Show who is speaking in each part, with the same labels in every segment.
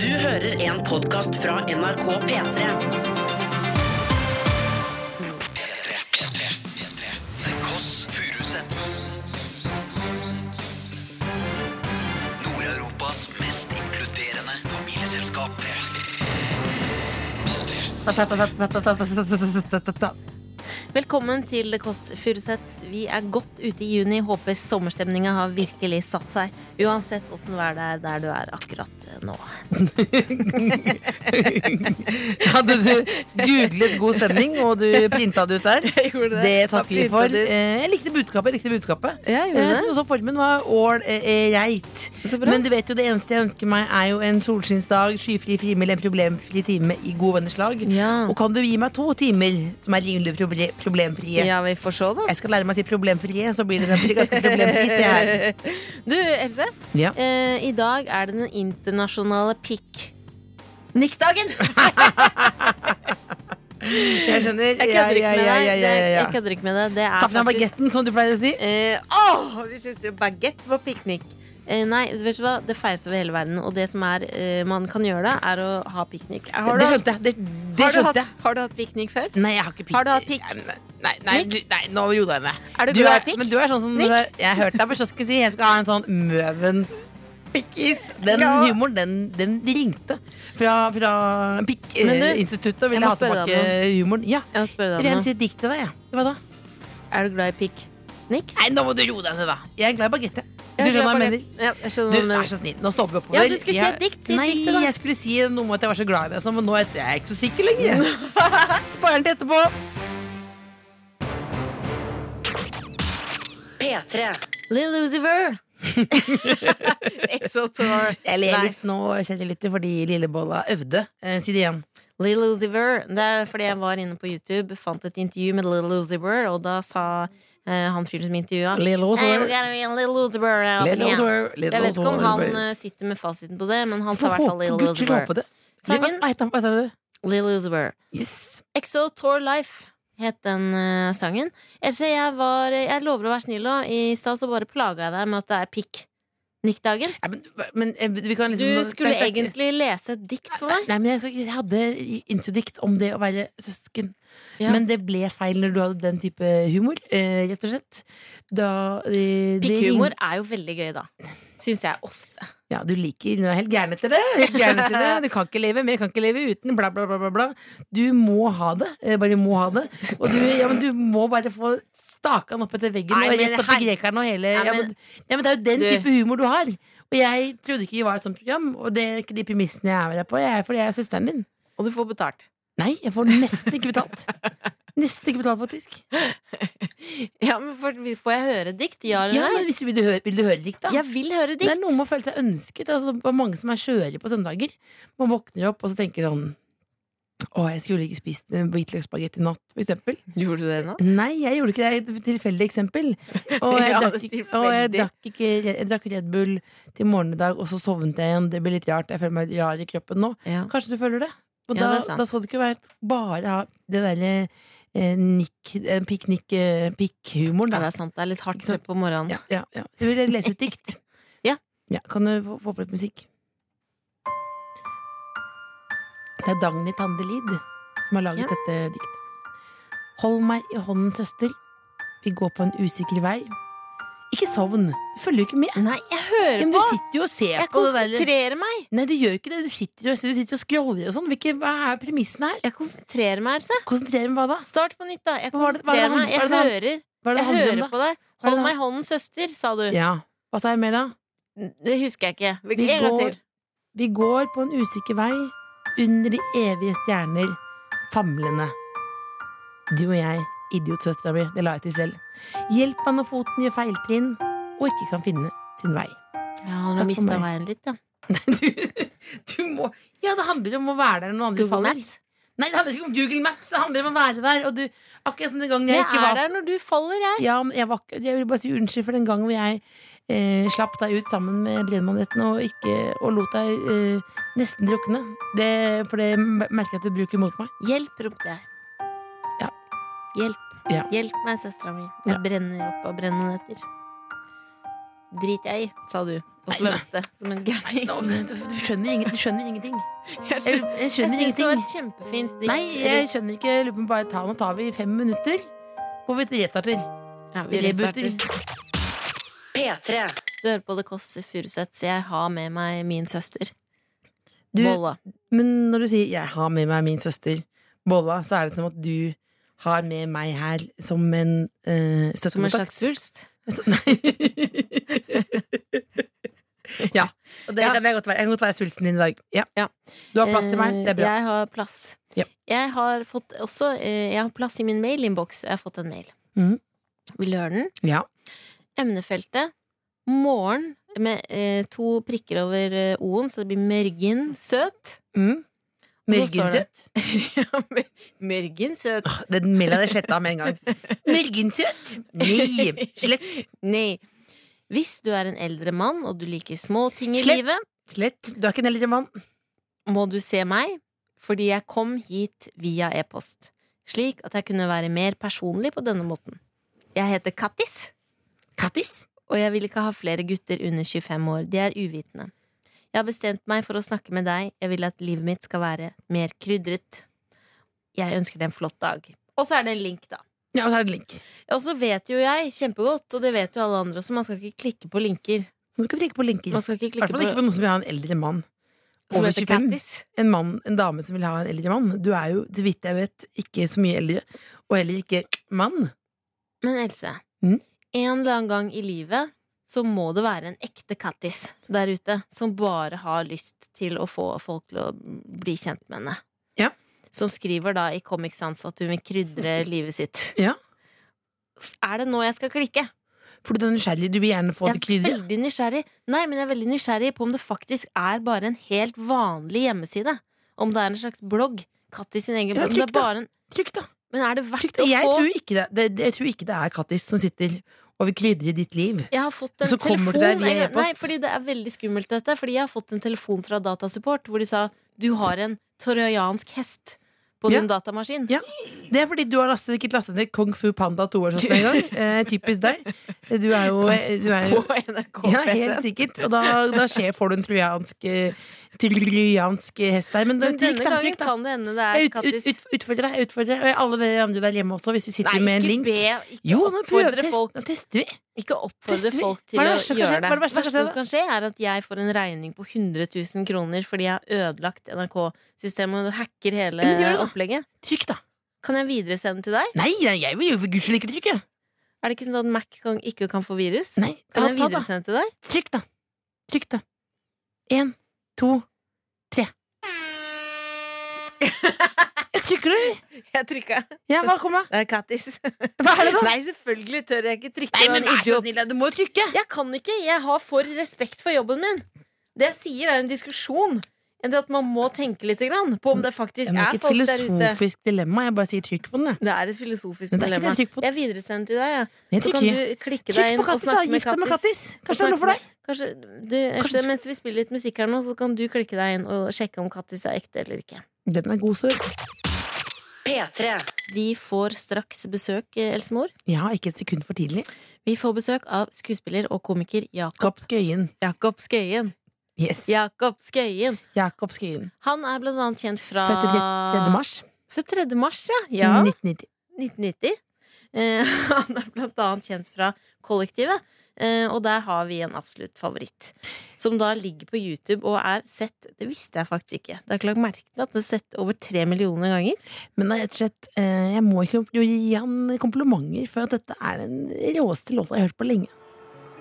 Speaker 1: Du hører en podkast fra NRK P3.
Speaker 2: The Koss Furusets Nord-Europas mest inkluderende familieselskap
Speaker 3: Velkommen til The Kåss Furuseths. Vi er godt ute i juni. Håper sommerstemninga har virkelig satt seg. Uansett åssen vær det er der du er akkurat eh, nå.
Speaker 4: Hadde du googlet god stemning, og du printa det ut der?
Speaker 3: Jeg gjorde det.
Speaker 4: Det takker vi
Speaker 3: Jeg
Speaker 4: for.
Speaker 3: printet det ut.
Speaker 4: Eh, Jeg likte budskapet. jeg likte budskapet
Speaker 3: Ja, gjorde du det?
Speaker 4: Jeg synes også formen var ålreit.
Speaker 3: Så bra.
Speaker 4: Men du vet jo, det eneste jeg ønsker meg, er jo en solskinnsdag, skyfri frihimmel, en problemfri time i gode venners lag.
Speaker 3: Ja.
Speaker 4: Og kan du gi meg to timer som er rimelig proble problemfrie?
Speaker 3: Ja, vi får se, da.
Speaker 4: Jeg skal lære meg å si problemfrie, så blir det nemlig ganske problemfritt. Det her.
Speaker 3: Du, Else.
Speaker 4: Ja.
Speaker 3: Eh, I dag er det den internasjonale pikk... Nikkdagen!
Speaker 4: Jeg skjønner.
Speaker 3: Jeg
Speaker 4: Ja, ja,
Speaker 3: kødder ikke med
Speaker 4: ja,
Speaker 3: deg.
Speaker 4: ja,
Speaker 3: Det
Speaker 4: ja,
Speaker 3: er-
Speaker 4: ja.
Speaker 3: Jeg kødder ikke med det. Det er
Speaker 4: Ta fram
Speaker 3: faktisk-
Speaker 4: bagetten, som du pleier å si.
Speaker 3: Eh, åh, vi synes jo bagett på piknik. Eh, nei, vet du hva? det feies over hele verden. Og det som er, eh, man kan gjøre, da, er å ha piknik. Har du,
Speaker 4: Det
Speaker 3: hatt-
Speaker 4: skjønte jeg. Det, det
Speaker 3: har du,
Speaker 4: skjønte
Speaker 3: hatt,
Speaker 4: jeg.
Speaker 3: har du hatt piknik før?
Speaker 4: Nei, jeg har ikke pikk.
Speaker 3: Har du hatt pikk?
Speaker 4: Nei, nei,
Speaker 3: Nikk?
Speaker 4: du, nei nå gjorde jeg det.
Speaker 3: Er du glad i pikk?
Speaker 4: Men du er sånn som
Speaker 3: Nikk?
Speaker 4: når jeg, jeg hørte deg på kiosken si jeg skal ha en sånn Møven pikkis. Den
Speaker 3: Ja.
Speaker 4: humoren, den, den ringte fra, fra
Speaker 3: Men du,
Speaker 4: Pikkinstituttet og
Speaker 3: jeg
Speaker 4: ville
Speaker 3: må
Speaker 4: ha
Speaker 3: spørre deg om
Speaker 4: tilbake humoren. Ja.
Speaker 3: Jeg må spørre
Speaker 4: Jeg vil
Speaker 3: deg om
Speaker 4: gjerne
Speaker 3: noe.
Speaker 4: si et dikt til deg. Ja. Hva da?
Speaker 3: Er du glad i pikk? Nick?
Speaker 4: Nei, nå må du roe deg ned, da. Jeg er glad i bagett. jeg. Hvis
Speaker 3: Jeg
Speaker 4: du skjønner hva jeg
Speaker 3: er
Speaker 4: mener.
Speaker 3: glad i bagett. Ja, jeg skjønner
Speaker 4: Du
Speaker 3: hva du
Speaker 4: er
Speaker 3: mener.
Speaker 4: så snill. Nå stopper vi opp.
Speaker 3: Ja, du skulle si et dikt. Si et
Speaker 4: Nei,
Speaker 3: dikt til da.
Speaker 4: jeg skulle si noe om at jeg var så glad i deg, sånn, men nå er jeg ikke så sikker lenger. Sparer den til etterpå.
Speaker 1: P3.
Speaker 3: Lill Lucifer. Exotor.
Speaker 4: Jeg ler
Speaker 3: Nei.
Speaker 4: litt nå, kjenner jeg litt, fordi Lillebolla øvde. Eh, si det igjen.
Speaker 3: Lil Uzi Vert. Det er fordi jeg var inne på YouTube, fant et intervju med Lil Uzi Vert, og da sa eh, han fyren som intervjua
Speaker 4: Lil Uzi Vert.
Speaker 3: Lil Uzi Vert up in
Speaker 4: Lil Uzi
Speaker 3: here."
Speaker 4: Vert, Lil
Speaker 3: Jeg vet ikke om
Speaker 4: Uzi
Speaker 3: han
Speaker 4: Vert.
Speaker 3: eh, sitter med fasiten på det, men han sa i
Speaker 4: For
Speaker 3: hvert fall
Speaker 4: håpe-
Speaker 3: Lil
Speaker 4: for guds
Speaker 3: Uzi
Speaker 4: skyld, håpe
Speaker 3: Vert.
Speaker 4: det. Lukas,
Speaker 3: Sangen-
Speaker 4: hva heter han? Hva sa du?
Speaker 3: Lil Uzi Vert.
Speaker 4: Yes.
Speaker 3: Exo Tour Life het den eh, sangen. Else, jeg, var, jeg lover å være snill, og i stad så bare plaga jeg deg med at det er pikk. Nikkdagen.
Speaker 4: Ja, men, men eh, vi kan
Speaker 3: Du
Speaker 4: liksom
Speaker 3: skulle
Speaker 4: Nei, nei,
Speaker 3: egentlig lese et dikt for meg.
Speaker 4: Nei, men jeg, så- jeg hadde introdikt om det å være søsken.
Speaker 3: Ja.
Speaker 4: Men det ble feil når du hadde den type humor, eh, rett og slett. Da eh, det
Speaker 3: Pikkhumor
Speaker 4: ring-
Speaker 3: er jo veldig gøy, da. Syns jeg ofte.
Speaker 4: Ja, du liker Du er helt gæren etter det. Helt gæren etter det. Du kan ikke leve med, kan ikke leve uten, bla, bla, bla, bla. bla. Du må ha det. Eh, Bare må ha det. Og du, ja, men du må bare få staka den opp etter veggen
Speaker 3: Nei,
Speaker 4: og
Speaker 3: men
Speaker 4: rett opp i
Speaker 3: her-
Speaker 4: grekeren og hele
Speaker 3: Nei,
Speaker 4: ja,
Speaker 3: men-
Speaker 4: men, ja, men det er jo den
Speaker 3: Du-
Speaker 4: type humor du har. Og jeg trodde ikke vi var et sånt program, og det er ikke de premissene jeg er med deg på. Jeg er fordi jeg er søsteren din.
Speaker 3: Og du får betalt.
Speaker 4: Nei, jeg får nesten ikke betalt. Nesten ikke betalt, faktisk.
Speaker 3: Ja, men for, Får jeg høre dikt? Ja eller
Speaker 4: Ja,
Speaker 3: nei?
Speaker 4: men hvis, vil, du høre, vil du høre dikt, da?
Speaker 3: Jeg vil høre
Speaker 4: Det er
Speaker 3: dikt!
Speaker 4: noe med å føle seg ønsket. Altså, det er mange som er skjøre på søndager. Man våkner opp og så tenker sånn Å, jeg skulle ikke spist eh, hvitløksbagett i natt, for eksempel.
Speaker 3: Gjorde du det nå?
Speaker 4: Nei, jeg gjorde ikke det. Det er Et tilfeldig eksempel. Og jeg,
Speaker 3: Ja,
Speaker 4: drakk,
Speaker 3: det er
Speaker 4: ikke, og jeg
Speaker 3: tilfeldig.
Speaker 4: drakk ikke Jeg drakk Red Bull til morgenen i dag, og så sovnet jeg igjen. Det blir litt rart. Jeg føler meg rar i kroppen nå.
Speaker 3: Ja.
Speaker 4: Kanskje du føler det? Og
Speaker 3: Ja,
Speaker 4: da,
Speaker 3: det er sant.
Speaker 4: da skal du ikke være bare ha det derre eh, nikk eh, Pikk-nikk eh, Pikk-humoren,
Speaker 3: Ja, det
Speaker 4: da.
Speaker 3: er sant. Det er litt hardt trøkk på morgenen.
Speaker 4: Ja, Mm. ja, ja. Jeg vil lese et dikt.
Speaker 3: Ja.
Speaker 4: Kan du få- få på litt musikk? Det er Dagny Tandelid som har laget
Speaker 3: Ja.
Speaker 4: dette diktet. Hold meg i hånden, søster. Vi går på en usikker vei. Ikke sovn. Du følger jo ikke med.
Speaker 3: Nei, jeg
Speaker 4: Ja,
Speaker 3: hører
Speaker 4: Men du
Speaker 3: på!
Speaker 4: sitter jo og ser
Speaker 3: Jeg
Speaker 4: på det der.
Speaker 3: konsentrerer meg!
Speaker 4: Nei, du gjør jo ikke det. Du sitter jo du sitter og scroller og sånn. Hvilke- Hva er premissene her?
Speaker 3: Jeg konsentrerer meg, Else.
Speaker 4: Konsentrer meg hva da?
Speaker 3: Start på nytt, da. Jeg
Speaker 4: Hva var det- hva var det
Speaker 3: konsentrerer meg. Jeg
Speaker 4: han- hva var Hva
Speaker 3: hører.
Speaker 4: er det
Speaker 3: Jeg
Speaker 4: det handler
Speaker 3: hører
Speaker 4: om, da?
Speaker 3: på deg.
Speaker 4: Hva er det
Speaker 3: Hold
Speaker 4: det-
Speaker 3: meg i hånden, søster, sa du.
Speaker 4: Ja. Hva sa jeg mer, da?
Speaker 3: Det husker jeg ikke.
Speaker 4: Vi
Speaker 3: En gang
Speaker 4: går-
Speaker 3: til.
Speaker 4: Vi går på en usikker vei under de evige stjerner, famlende. Du og jeg, idiotsøstera mi, det la jeg til selv. Hjelp meg når foten gjør feiltrinn og ikke kan finne sin vei.
Speaker 3: Ja,
Speaker 4: Takk
Speaker 3: han har
Speaker 4: for
Speaker 3: mista
Speaker 4: meg.
Speaker 3: veien litt, ja.
Speaker 4: Nei, du, du må Ja, det handler om å være der når noen andre
Speaker 3: Google
Speaker 4: faller.
Speaker 3: Maps.
Speaker 4: Nei, det handler ikke om Google Maps, det handler om å være der. Og du, akkurat som den gangen jeg,
Speaker 3: Jeg
Speaker 4: ikke
Speaker 3: er
Speaker 4: var
Speaker 3: der når du faller, jeg.
Speaker 4: Ja, men jeg, var, ikke- jeg vil bare si unnskyld for den gangen hvor jeg eh, slapp deg ut sammen med brennmanetten og, ikke- og lot deg eh, nesten drukne. Det, for det merker jeg at du bruker mot meg.
Speaker 3: Hjelp, ropte jeg.
Speaker 4: Ja.
Speaker 3: Hjelp.
Speaker 4: Ja.
Speaker 3: Hjelp meg, søstera mi.
Speaker 4: Ja.
Speaker 3: Jeg brenner opp av brennmaneter. driter jeg i, sa du. Og
Speaker 4: Nei,
Speaker 3: svømte som en gærning.
Speaker 4: Nå, Du du skjønner, ingen, du skjønner ingenting.
Speaker 3: Jeg
Speaker 4: Jeg, jeg
Speaker 3: syns jeg
Speaker 4: skjønner
Speaker 3: syns det var
Speaker 4: ingenting.
Speaker 3: et kjempefint dikt.
Speaker 4: Nei, jeg skjønner ikke. Jeg lurer på om bare ta, nå tar vi fem minutter, hvor vi restarter.
Speaker 3: ja, vi
Speaker 4: Rebooter.
Speaker 3: restarter.
Speaker 1: P3.
Speaker 3: Du hører på The Kåss Furuseths. Jeg har med meg min søster.
Speaker 4: Du-
Speaker 3: Bolla.
Speaker 4: Men når du sier 'jeg har med meg min søster Bolla', så er det som at du har med meg her som en uh,
Speaker 3: Som en slags svulst.
Speaker 4: ja. Og det
Speaker 3: Ja.
Speaker 4: kan jeg godt være. Jeg kan godt være svulsten din i dag. Ja.
Speaker 3: Ja.
Speaker 4: Du har plass til meg. Det er bra.
Speaker 3: Eh, Jeg har plass.
Speaker 4: Ja.
Speaker 3: Jeg har fått også eh, Jeg har plass i min mailinnboks. Jeg har fått en mail.
Speaker 4: Mhm.
Speaker 3: Vil du høre den?
Speaker 4: Ja.
Speaker 3: Emnefeltet morgen med eh, to prikker over eh, o-en, så det blir mørgen søt.
Speaker 4: Mm.
Speaker 3: Og så står det-
Speaker 4: Mørgensøt.
Speaker 3: ja, mør- mørgen søt.
Speaker 4: Den mailen hadde jeg sletta med en gang. Mørgensøt! Nei! Slett.
Speaker 3: Nei. Hvis du er en eldre mann og du liker små ting i
Speaker 4: Slett.
Speaker 3: livet,
Speaker 4: Slett. Du er ikke en eldre mann.
Speaker 3: må du se meg, fordi jeg kom hit via e-post, slik at jeg kunne være mer personlig på denne måten. Jeg heter Kattis,
Speaker 4: Kattis.
Speaker 3: og jeg vil ikke ha flere gutter under 25 år. De er uvitende. Jeg har bestemt meg for å snakke med deg. Jeg vil at livet mitt skal være mer krydret. Jeg ønsker deg en flott dag. Og så er det en link, da.
Speaker 4: Ja, og så er det en link.
Speaker 3: Og så vet jo jeg kjempegodt, og det vet jo alle andre også, man skal ikke klikke på linker.
Speaker 4: Du skal trykke på linker.
Speaker 3: Man skal ikke
Speaker 4: I
Speaker 3: klikke
Speaker 4: hvert fall ikke
Speaker 3: på
Speaker 4: på noen som vil ha en eldre mann.
Speaker 3: som
Speaker 4: Over
Speaker 3: heter
Speaker 4: 25.
Speaker 3: Kattis.
Speaker 4: En, mann, en dame som vil ha en eldre mann. Du er jo, så vidt jeg vet, ikke så mye eldre. Og heller ikke mann.
Speaker 3: Men Else,
Speaker 4: Mm.
Speaker 3: en eller annen gang i livet så må det være en ekte kattis der ute som bare har lyst til å få folk til å bli kjent med henne.
Speaker 4: Ja.
Speaker 3: Som skriver da i Comic Sans at hun vil krydre livet sitt.
Speaker 4: Ja.
Speaker 3: Er det nå jeg skal klikke?
Speaker 4: For du er nysgjerrig. Du vil gjerne få det
Speaker 3: Jeg er
Speaker 4: krydderet.
Speaker 3: veldig nysgjerrig Nei, men jeg er veldig nysgjerrig på om det faktisk er bare en helt vanlig hjemmeside. Om det er en slags blogg. Katt i sin egen
Speaker 4: Ja,
Speaker 3: blogg. Om det
Speaker 4: trykk
Speaker 3: er
Speaker 4: da.
Speaker 3: bare en,
Speaker 4: Trykk, da.
Speaker 3: men er det
Speaker 4: Trykk
Speaker 3: verdt
Speaker 4: da.
Speaker 3: å
Speaker 4: Jeg
Speaker 3: få
Speaker 4: tror ikke det, det, det- jeg tror ikke det er Kattis som sitter og vil krydre ditt liv.
Speaker 3: Jeg har fått en
Speaker 4: Så kommer det
Speaker 3: telefon
Speaker 4: der via
Speaker 3: en gang- Nei,
Speaker 4: e-post.
Speaker 3: fordi det er veldig skummelt dette Fordi jeg har fått en telefon fra datasupport Hvor de sa, du har en trojansk hest På
Speaker 4: Ja.
Speaker 3: din datamaskin
Speaker 4: Ja. Det er fordi du har lastet, sikkert lastet ned Kung Fu Panda 2 eller sånt en gang. Eh, typisk deg. Du er jo, du er jo
Speaker 3: På NRK
Speaker 4: ja,
Speaker 3: PC
Speaker 4: helt sikkert. Og da, da skjer, får du en trojansk, eh, trojansk hest der. Men, da-
Speaker 3: Men
Speaker 4: trykk,
Speaker 3: denne
Speaker 4: da.
Speaker 3: gangen
Speaker 4: Trykk, da.
Speaker 3: kan det hende det er
Speaker 4: Jeg ut, ut,
Speaker 3: Kattis
Speaker 4: ut, utfordrer deg. jeg Utfordrer deg. Og alle dere andre der hjemme også, hvis du sitter
Speaker 3: Nei,
Speaker 4: med en
Speaker 3: ikke
Speaker 4: link.
Speaker 3: be Ikke
Speaker 4: Jo, nå prøver
Speaker 3: oppfordre
Speaker 4: test-
Speaker 3: folk
Speaker 4: nå tester vi.
Speaker 3: Ikke oppfordre
Speaker 4: Tester vi.
Speaker 3: folk
Speaker 4: Hva
Speaker 3: til
Speaker 4: er
Speaker 3: å
Speaker 4: det verste som kan skje?
Speaker 3: gjøre
Speaker 4: Hva
Speaker 3: det
Speaker 4: er det verste som kan skje,
Speaker 3: som kan skje er at jeg får en regning på 100 000 kroner Fordi jeg har ødelagt NRK-systemet Og du hacker hele
Speaker 4: Men gjør det da.
Speaker 3: opplegget
Speaker 4: Trykk, da.
Speaker 3: Kan jeg videresende til deg?
Speaker 4: Nei, nei, jeg vil jo for guds skyld ikke trykke.
Speaker 3: Er det ikke sånn at Mac kan, ikke kan få virus?
Speaker 4: Nei, ta,
Speaker 3: Kan jeg
Speaker 4: ta, da.
Speaker 3: videresende til deg?
Speaker 4: Trykk, da. Trykk, da. Én, to, tre. Jeg trykker, eller?
Speaker 3: Jeg trykka.
Speaker 4: Ja, hva kommer da?
Speaker 3: Det er Kattis.
Speaker 4: Hva er det da?
Speaker 3: Nei, selvfølgelig tør jeg ikke trykke. du er en idiot.
Speaker 4: snill, da, du må jo trykke!
Speaker 3: Jeg kan ikke. Jeg har for respekt for jobben min. Det jeg sier, er en diskusjon. Enn det at man må tenke litt grann på om det faktisk
Speaker 4: Det er
Speaker 3: er
Speaker 4: ikke et
Speaker 3: folk der ute.
Speaker 4: filosofisk dilemma, jeg bare sier trykk på den. jeg.
Speaker 3: Det er et filosofisk
Speaker 4: Men det er ikke
Speaker 3: dilemma.
Speaker 4: det jeg trykker på.
Speaker 3: Jeg videresender til deg. Ja.
Speaker 4: Jeg
Speaker 3: Så kan
Speaker 4: trykker.
Speaker 3: du klikke deg
Speaker 4: Trykk
Speaker 3: inn
Speaker 4: på
Speaker 3: og
Speaker 4: Kattis, da!
Speaker 3: snakke med
Speaker 4: Gift deg med Kattis! Kanskje det er noe for deg?
Speaker 3: Kanskje, du, eh,
Speaker 4: Kanskje du-
Speaker 3: Mens vi spiller litt musikk her nå, så kan du klikke deg inn og sjekke om Kattis er ekte eller ikke.
Speaker 4: Den er god, sør.
Speaker 1: P3.
Speaker 3: Vi får straks besøk, eh, Elsemor.
Speaker 4: Ja, ikke et sekund for tidlig.
Speaker 3: Vi får besøk av skuespiller og komiker Jakob
Speaker 4: Jakob Skøyen.
Speaker 3: Jakob Skøyen.
Speaker 4: Yes.
Speaker 3: Jakob Skøyen.
Speaker 4: Jakob Skøyen.
Speaker 3: Han er blant annet kjent fra
Speaker 4: Født til 3. mars Mm.
Speaker 3: Født 3. mars, ja. Ah, ja.
Speaker 4: 1990.
Speaker 3: 1990. Eh, han er blant annet kjent fra Kollektivet. Eh, og der har vi en absolutt favoritt. Som da ligger på YouTube og er sett Det visste jeg faktisk ikke. Det er ikke lagt merke til at det er sett over tre millioner ganger.
Speaker 4: Men det er rett og slett, eh, jeg må ikke jo gi han komplimenter for at dette er den råeste låta jeg har hørt på lenge.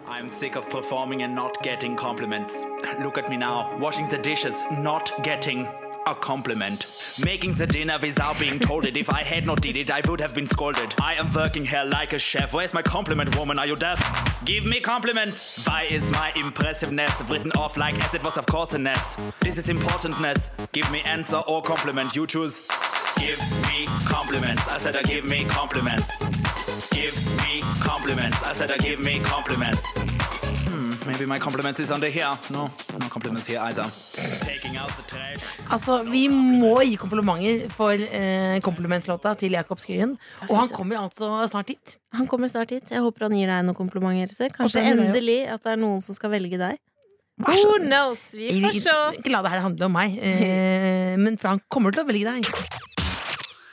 Speaker 5: I'm sick of performing and not getting compliments. Look at me now, washing the dishes, not getting a compliment. Making the dinner without being told it. If I had not did it, I would have been scolded. I am working here like a chef. Where's my compliment, woman? Are you deaf? Give me compliments. Why is my impressiveness written off like as it was of course a ness? This is importantness. Give me answer or compliment. You choose. Give me compliments. I said I give me compliments. Give me compliments. I said I give me compliments. Hmm, maybe my compliments is under here. No, no compliments here either. Taking Taking out the trash.
Speaker 4: Altså, Vi må gi komplimenter for eh, komplimentslåta til Jakob Skøyen. Og han kommer jo altså snart hit.
Speaker 3: Han kommer snart hit. Jeg håper han gir deg noen komplimenter. Else. Kanskje
Speaker 4: Håper han gjør det,
Speaker 3: endelig at det er noen som skal velge deg.
Speaker 4: Vær så
Speaker 3: Who knows? Vi får se.
Speaker 4: Ikke la det her handle om meg, eh, men for han kommer til å velge deg.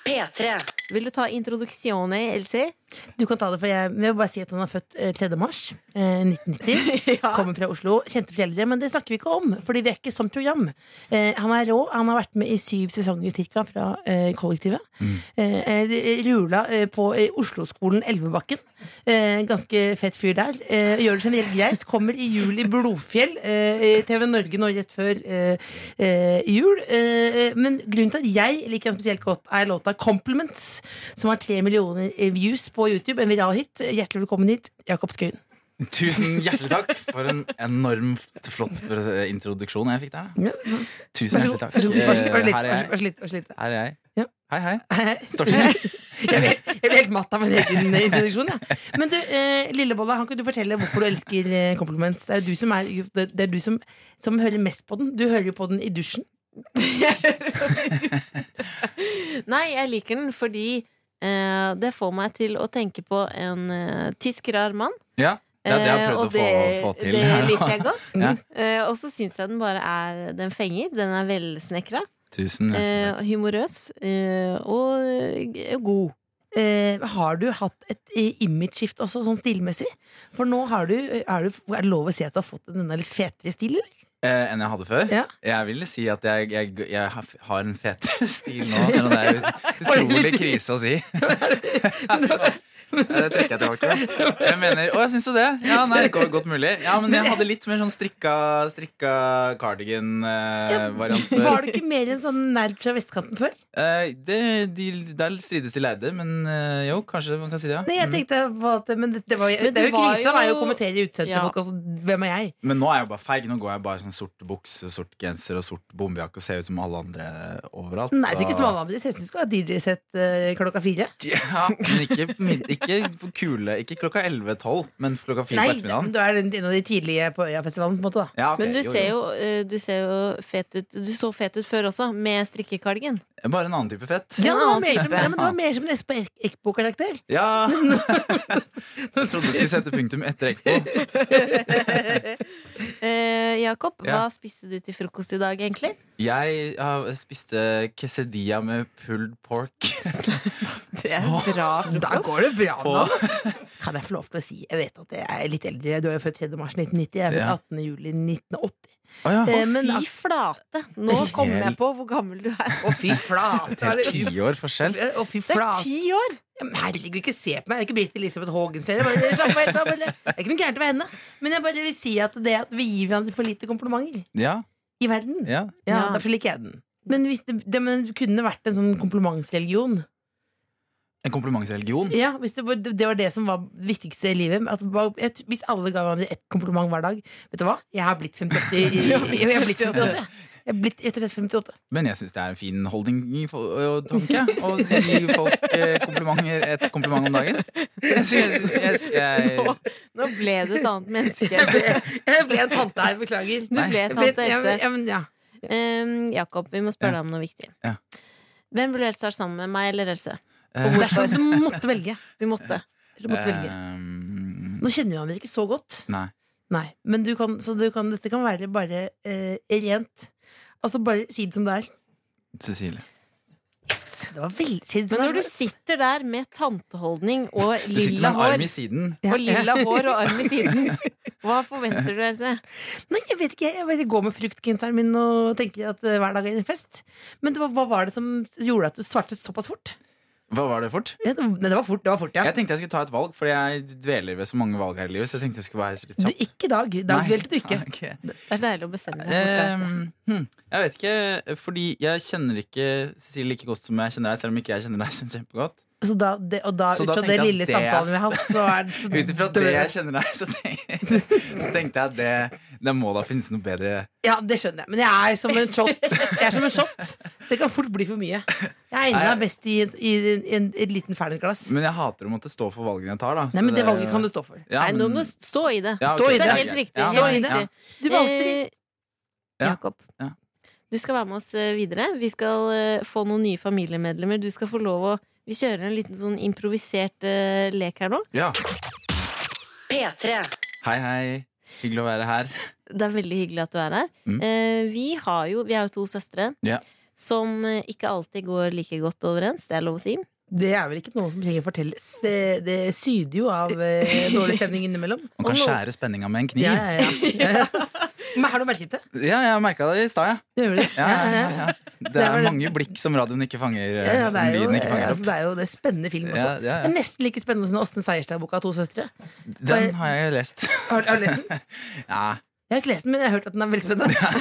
Speaker 1: P3.
Speaker 3: Vil du ta introduksjonen, Elsie?
Speaker 4: Du kan ta det, for Jeg vil bare si at han er født eh, 3. mars eh, 1990. Kommer fra Oslo. Kjente foreldre, men det snakker vi ikke om, fordi vi er ikke som program. Eh, han er rå. Han har vært med i syv sesonger cirka fra eh, kollektivet. Eh, eh, rula eh, på eh, Osloskolen Elvebakken. Eh, ganske fett fyr der. Eh, gjør det generelt greit. Kommer i jul i Blodfjell. Eh, i TV Norge nå rett før eh, eh, jul. Eh, men grunnen til at jeg liker han spesielt godt, er låta 'Compliments', som har tre millioner eh, views på YouTube. En viral hit. Hjertelig velkommen hit, Jakob Skaun.
Speaker 6: Tusen hjertelig takk for en enormt flott pre- introduksjon jeg fikk der. da. Tusen
Speaker 4: Vær så
Speaker 6: hjertelig
Speaker 4: god.
Speaker 6: takk.
Speaker 4: Vær så god. Vær så
Speaker 6: Eh,
Speaker 4: god. Vær så god. Vær så
Speaker 6: Her er jeg.
Speaker 4: god.
Speaker 6: Her er jeg.
Speaker 4: Ja.
Speaker 6: Hei, hei.
Speaker 4: Vær så
Speaker 6: Står
Speaker 4: god.
Speaker 6: det
Speaker 4: Eh, Jeg ble, jeg ble helt matt av min egen eh, introduksjon. Ja. Men du, eh, Lillebolla, kan ikke du fortelle hvorfor du elsker eh, Compliments? Det er jo du som, er, det er du som, som hører mest på den. Du hører jo på den i dusjen.
Speaker 3: Nei, jeg liker den fordi eh, det får meg til å tenke på en eh, tysk rar mann.
Speaker 6: Ja, det er det jeg har
Speaker 3: Eh,
Speaker 6: prøvd
Speaker 3: og
Speaker 6: å få,
Speaker 3: det-
Speaker 6: få til.
Speaker 3: Det
Speaker 6: her nå.
Speaker 3: liker jeg godt.
Speaker 6: Ja.
Speaker 3: Eh, og så syns jeg den bare er Den fenger. Den er velsnekra,
Speaker 6: Tusen hjertelig
Speaker 3: eh,
Speaker 6: takk.
Speaker 3: humorøs eh, og eh, god.
Speaker 4: Eh, har du hatt et eh, imageskift også, sånn stilmessig? For nå har du, er, du, er det lov å si at du har fått en enda litt fetere stil, eller?
Speaker 6: Eh, enn jeg hadde før.
Speaker 4: Ja.
Speaker 6: Jeg vil si at jeg, jeg, jeg har en fetere stil nå, selv om det er ut- utrolig krise å si. Nei, Det trekker jeg tilbake. Jeg mener, Å, jeg syns jo det. Ja, nei, go- Godt mulig. Ja, men jeg hadde litt mer sånn strikka, strikka cardigan-variant før.
Speaker 4: Var du ikke mer en sånn nerd fra vestkanten før?
Speaker 6: Eh, det, de, der strides de lærde, men eh, jo, kanskje man kan si det. ja
Speaker 4: Nei, jeg tenkte på at Men det, det, var, jo-
Speaker 3: Mm. Men
Speaker 4: det er
Speaker 3: du
Speaker 4: jo
Speaker 3: var
Speaker 4: krise av meg
Speaker 3: jo-
Speaker 4: å kommentere utseendet
Speaker 3: Ja.
Speaker 4: til folk. Altså, hvem er jeg?
Speaker 6: Men nå er jeg jo bare feig. Nå går jeg bare i sånn sort bukse, sort genser og sort bombejakke og ser ut som alle andre overalt.
Speaker 4: Nei, så
Speaker 6: så-
Speaker 4: ikke som alle andre. Jeg synes du skal ha DJ-sett eh, klokka fire.
Speaker 6: Ja, men ikke, på mid- ikke på kule Ikke klokka 11-12, men klokka 4
Speaker 4: Nei,
Speaker 6: på ettermiddagen.
Speaker 4: du er den- en av de tidlige på Øyafestivalen, på en måte, da.
Speaker 6: Ja, ok,
Speaker 3: Men du ser jo, eh, du ser jo fet ut. Du så fet ut før også, med strikkekalgen.
Speaker 6: Bare en annen type fett.
Speaker 4: Ja,
Speaker 3: en
Speaker 4: det var
Speaker 3: annen
Speaker 4: mer som,
Speaker 3: type.
Speaker 4: ja, men det var mer som en Espa Eckbo-karakter.
Speaker 6: Ja! Jeg trodde du skulle sette punktum etter Ekpo.
Speaker 3: Eh, Jakob,
Speaker 6: Ja.
Speaker 3: hva spiste du til frokost i dag, egentlig?
Speaker 6: Jeg har- spiste quesadilla med pulled pork.
Speaker 3: Det er bra frokost.
Speaker 4: Da går det bra
Speaker 6: På-
Speaker 4: nå! Kan jeg få lov til å si Jeg vet at jeg er litt eldre. Du er jo født 3. mars 1990. Jeg er født
Speaker 6: Ja.
Speaker 4: 18. juli 1980.
Speaker 6: Å ja.
Speaker 4: Eh, men
Speaker 3: Fy
Speaker 4: at-
Speaker 3: flate! Nå kommer jeg
Speaker 6: Helt-
Speaker 3: på hvor gammel du er.
Speaker 4: Å, fy flate!
Speaker 6: Det er ti år forskjell.
Speaker 4: Å, fy
Speaker 3: Det er
Speaker 4: flate.
Speaker 3: ti år!
Speaker 4: Ja, men Herregud, ikke se på meg. Jeg er ikke Britt Elisabeth Haagens heller. Bare slapp av helt av, bare- Det er ikke noe gærent med henne. Men jeg bare vil si at det at vi gir hverandre for lite komplimenter
Speaker 6: Ja,
Speaker 4: i verden, ja,
Speaker 6: ja.
Speaker 3: Ja.
Speaker 4: derfor liker jeg den. Men hvis det, det men det kunne vært en sånn komplimentsreligion.
Speaker 6: En komplimentsreligion.
Speaker 4: Ja, hvis det, var, det var det som var det viktigste i livet. At, hva- et- hvis alle ga hverandre ett kompliment hver dag Vet du hva? Jeg har blitt 58. Jeg har blitt 58. jeg. Jeg er blitt rett og slett 58.
Speaker 6: Men jeg syns det er en fin holdning i fo- og tanke å gi folk eh, komplimenter et kompliment om dagen. Jeg synes, jeg, jeg,
Speaker 3: Nå, nå ble du et annet menneske.
Speaker 4: Jeg ble, jeg ble en tante her, beklager.
Speaker 3: Du
Speaker 6: Nei,
Speaker 3: ble
Speaker 4: Jeg ble-
Speaker 3: tante
Speaker 4: ja,
Speaker 3: Else.
Speaker 4: men- ja, men, ja.
Speaker 3: Em, Jakob, vi må spørre
Speaker 6: Ja.
Speaker 3: deg om noe viktig.
Speaker 6: Ja.
Speaker 3: Hvem ville du helst vært sammen med? Meg eller Else?
Speaker 6: Eh,
Speaker 4: Dersom du måtte velge.
Speaker 3: Du måtte.
Speaker 4: Så måtte du velge.
Speaker 6: ehm,
Speaker 4: Nå kjenner vi hverandre ikke så godt.
Speaker 6: Nei.
Speaker 4: Nei, men du kan, så du kan, dette kan være bare eh, rent. Altså bare si det som det er.
Speaker 6: Cecilie.
Speaker 4: Det var veldig si det som
Speaker 3: Men når
Speaker 4: det
Speaker 3: du
Speaker 4: er.
Speaker 3: sitter der med tanteholdning og
Speaker 6: Du sitter med
Speaker 3: lilla
Speaker 6: en
Speaker 3: hår
Speaker 6: arm i siden.
Speaker 3: Og lilla hår og arm i siden. Hva forventer du, Else?
Speaker 4: Nei, jeg vet ikke. Jeg bare går med fruktgenseren min og tenker at eh, hver dag er en fest. Men det var, hva var det som gjorde at du svarte såpass fort?
Speaker 6: Hva var det fort?
Speaker 4: Ja, det, nei, det var fort, det var fort, ja.
Speaker 6: Jeg tenkte jeg skulle ta et valg, for jeg dveler ved så mange valg her i livet. Så jeg tenkte jeg skulle være litt
Speaker 4: Du,
Speaker 6: kjapp.
Speaker 4: ikke i dag. I dag
Speaker 6: Nei.
Speaker 4: delte du ikke.
Speaker 6: Ok.
Speaker 3: Det er deilig å bestemme seg. fort, Else.
Speaker 4: sånn.
Speaker 6: Ehm, hm, jeg vet ikke, fordi jeg kjenner ikke Cecilie like godt som jeg kjenner deg, selv om ikke jeg kjenner deg så kjempegodt.
Speaker 4: Så da, det, og da,
Speaker 6: Så
Speaker 4: ut
Speaker 6: da
Speaker 4: fra
Speaker 6: tenker
Speaker 4: det
Speaker 6: jeg at
Speaker 4: lille
Speaker 6: det er-
Speaker 4: samtalen vi har hatt, så er det så,
Speaker 6: Ut ifra det jeg kjenner deg, så tenkte, tenkte jeg at det, det må da finnes noe bedre.
Speaker 4: Ja, det skjønner jeg. Men jeg er som en shot. Jeg er som en shot. Det kan fort bli for mye. Jeg egner meg best i, en, i en, en, et liten ferdigglass.
Speaker 6: Men jeg hater å måtte stå for valgene jeg tar, da. så
Speaker 4: Nei, men det valget kan du stå for.
Speaker 6: Ja,
Speaker 3: Nei, nå
Speaker 6: men-
Speaker 3: må du stå i det.
Speaker 6: Ja,
Speaker 4: stå i
Speaker 6: ok,
Speaker 3: Det
Speaker 4: det
Speaker 3: er
Speaker 4: er
Speaker 3: helt
Speaker 6: greit.
Speaker 3: riktig.
Speaker 6: Ja,
Speaker 3: helt
Speaker 6: ja.
Speaker 3: riktig.
Speaker 4: Du valgte
Speaker 3: Eh,
Speaker 6: Ja.
Speaker 3: Jakob.
Speaker 6: Ja.
Speaker 3: Du skal være med oss eh, videre. Vi skal eh, få noen nye familiemedlemmer. Du skal få lov å Vi kjører en liten sånn improvisert eh, lek her nå.
Speaker 6: Ja.
Speaker 1: P3.
Speaker 6: Hei, hei. Hyggelig å være her.
Speaker 3: Det er veldig hyggelig at du er her.
Speaker 6: Mm.
Speaker 3: Eh, vi, har jo, vi er jo to søstre
Speaker 6: Ja.
Speaker 3: som eh, ikke alltid går like godt overens. Det er lov å si.
Speaker 4: Det er vel ikke noe som trenger fortelles. Det, det syder jo av eh, dårlig stemning innimellom.
Speaker 6: Man kan
Speaker 3: Og nå-
Speaker 6: skjære spenninga med en kniv.
Speaker 4: Ja,
Speaker 6: Ja,
Speaker 4: ja, ja. ja, ja. Men har du merket det?
Speaker 6: jeg merka det i stad, ja.
Speaker 4: Det gjør du det.
Speaker 6: Ja, ja, ja, ja. Det
Speaker 4: Det var
Speaker 6: er
Speaker 4: det.
Speaker 6: mange blikk som radioen ikke fanger.
Speaker 4: Ja, ja,
Speaker 6: som
Speaker 4: det, er jo,
Speaker 6: lyden ikke
Speaker 4: eh,
Speaker 6: fanger
Speaker 4: altså,
Speaker 6: opp.
Speaker 4: det er jo det er spennende film også.
Speaker 6: Ja, ja,
Speaker 4: Det
Speaker 6: ja.
Speaker 4: er nesten like spennende som Åsne Seierstad-boka To søstre.
Speaker 6: Den har jeg lest.
Speaker 4: Har, har du lest den? Jeg
Speaker 6: Ja,
Speaker 4: har ikke lest den, men jeg har hørt at den er veldig spennende.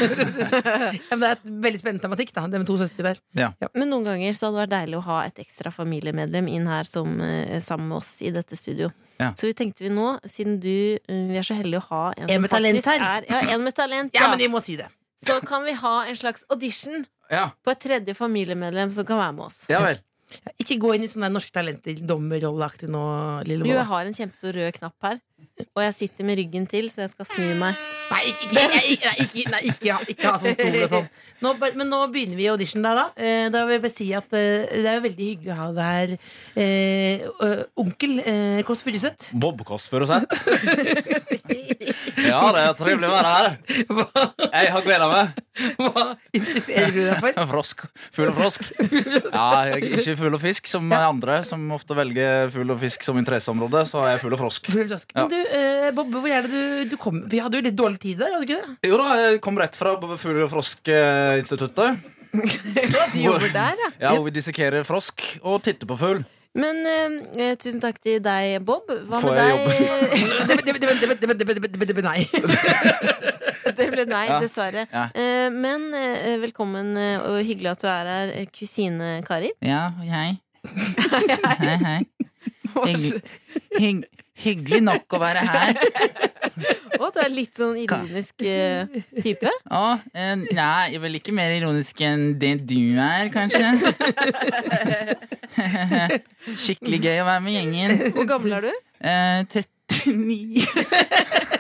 Speaker 4: ja, men det er et veldig spennende tematikk, da, det med to søstre der.
Speaker 3: Men noen ganger så hadde det vært deilig å ha et ekstra familiemedlem inn her som, eh, sammen med oss i dette studio.
Speaker 6: Ja.
Speaker 3: Så vi tenkte vi nå, siden du eh, Vi er så heldige å ha en,
Speaker 4: En med talent her.
Speaker 3: er Ja, en med talent,
Speaker 4: Ja,
Speaker 3: ja.
Speaker 4: men de må si det.
Speaker 3: Så kan vi ha en slags audition
Speaker 6: ja,
Speaker 3: på et tredje familiemedlem som kan være med oss.
Speaker 6: ja vel.
Speaker 4: Ikke gå inn i sånne der norske talenter, dommerrolleaktig nå,
Speaker 3: Du,
Speaker 4: lille
Speaker 3: jeg
Speaker 4: Bolla.
Speaker 3: har en kjempestor rød knapp her, og jeg sitter med ryggen til, så jeg skal snu meg.
Speaker 4: Nei, ikke, ikke, nei, ikke, nei, ikke, nei, ikke, ha- ikke ha sånn stol og sånn. Nå, bare- men nå begynner vi audition der, da. Eh, Da vil jeg bare si at eh, det er jo veldig hyggelig å ha deg her, eh, ø- onkel eh, Kåss Furuseth.
Speaker 6: Bob Kåss Furuseth. Ja, det er trivelig å være her.
Speaker 4: Hva,
Speaker 6: Jeg har gleda meg.
Speaker 4: hva interesserer du deg for?
Speaker 6: Frosk. Fugl og frosk. Ja, jeg er ikke fugl og fisk som andre, som ofte velger fugl og fisk som interesseområde. Så er jeg fugl og frosk.
Speaker 4: Fugl og frosk. Men du, eh, Bob, hvor er det du, du kom? Vi hadde jo litt dårlig tid der, hadde vi ikke det?
Speaker 6: Jo da, jeg kom rett fra Fugl- og froskinstituttet.
Speaker 3: Du jobber der, ja.
Speaker 6: eh, Ja, hvor vi dissekerer frosk og titter på fugl.
Speaker 3: Men eh, eh, tusen takk til deg, Bob. Hva
Speaker 6: Får
Speaker 3: med
Speaker 6: jeg
Speaker 3: deg?
Speaker 4: Det- det- det- det- det- det- det- det- det- det- Nei.
Speaker 3: Det ble nei,
Speaker 6: Ja.
Speaker 3: dessverre.
Speaker 6: Ja.
Speaker 3: Eh, Men eh, velkommen eh, og hyggelig at du er her, eh, kusine Kari.
Speaker 6: Ja, hei. Hei, hei. Hygg- hygg- hyggelig nok å være her.
Speaker 3: Å, du er litt sånn ironisk eh, type.
Speaker 6: Å, eh, nei, jeg er vel ikke mer ironisk enn det du er, kanskje. Skikkelig gøy å være med gjengen.
Speaker 3: Hvor gammel er du?
Speaker 6: Eh, 39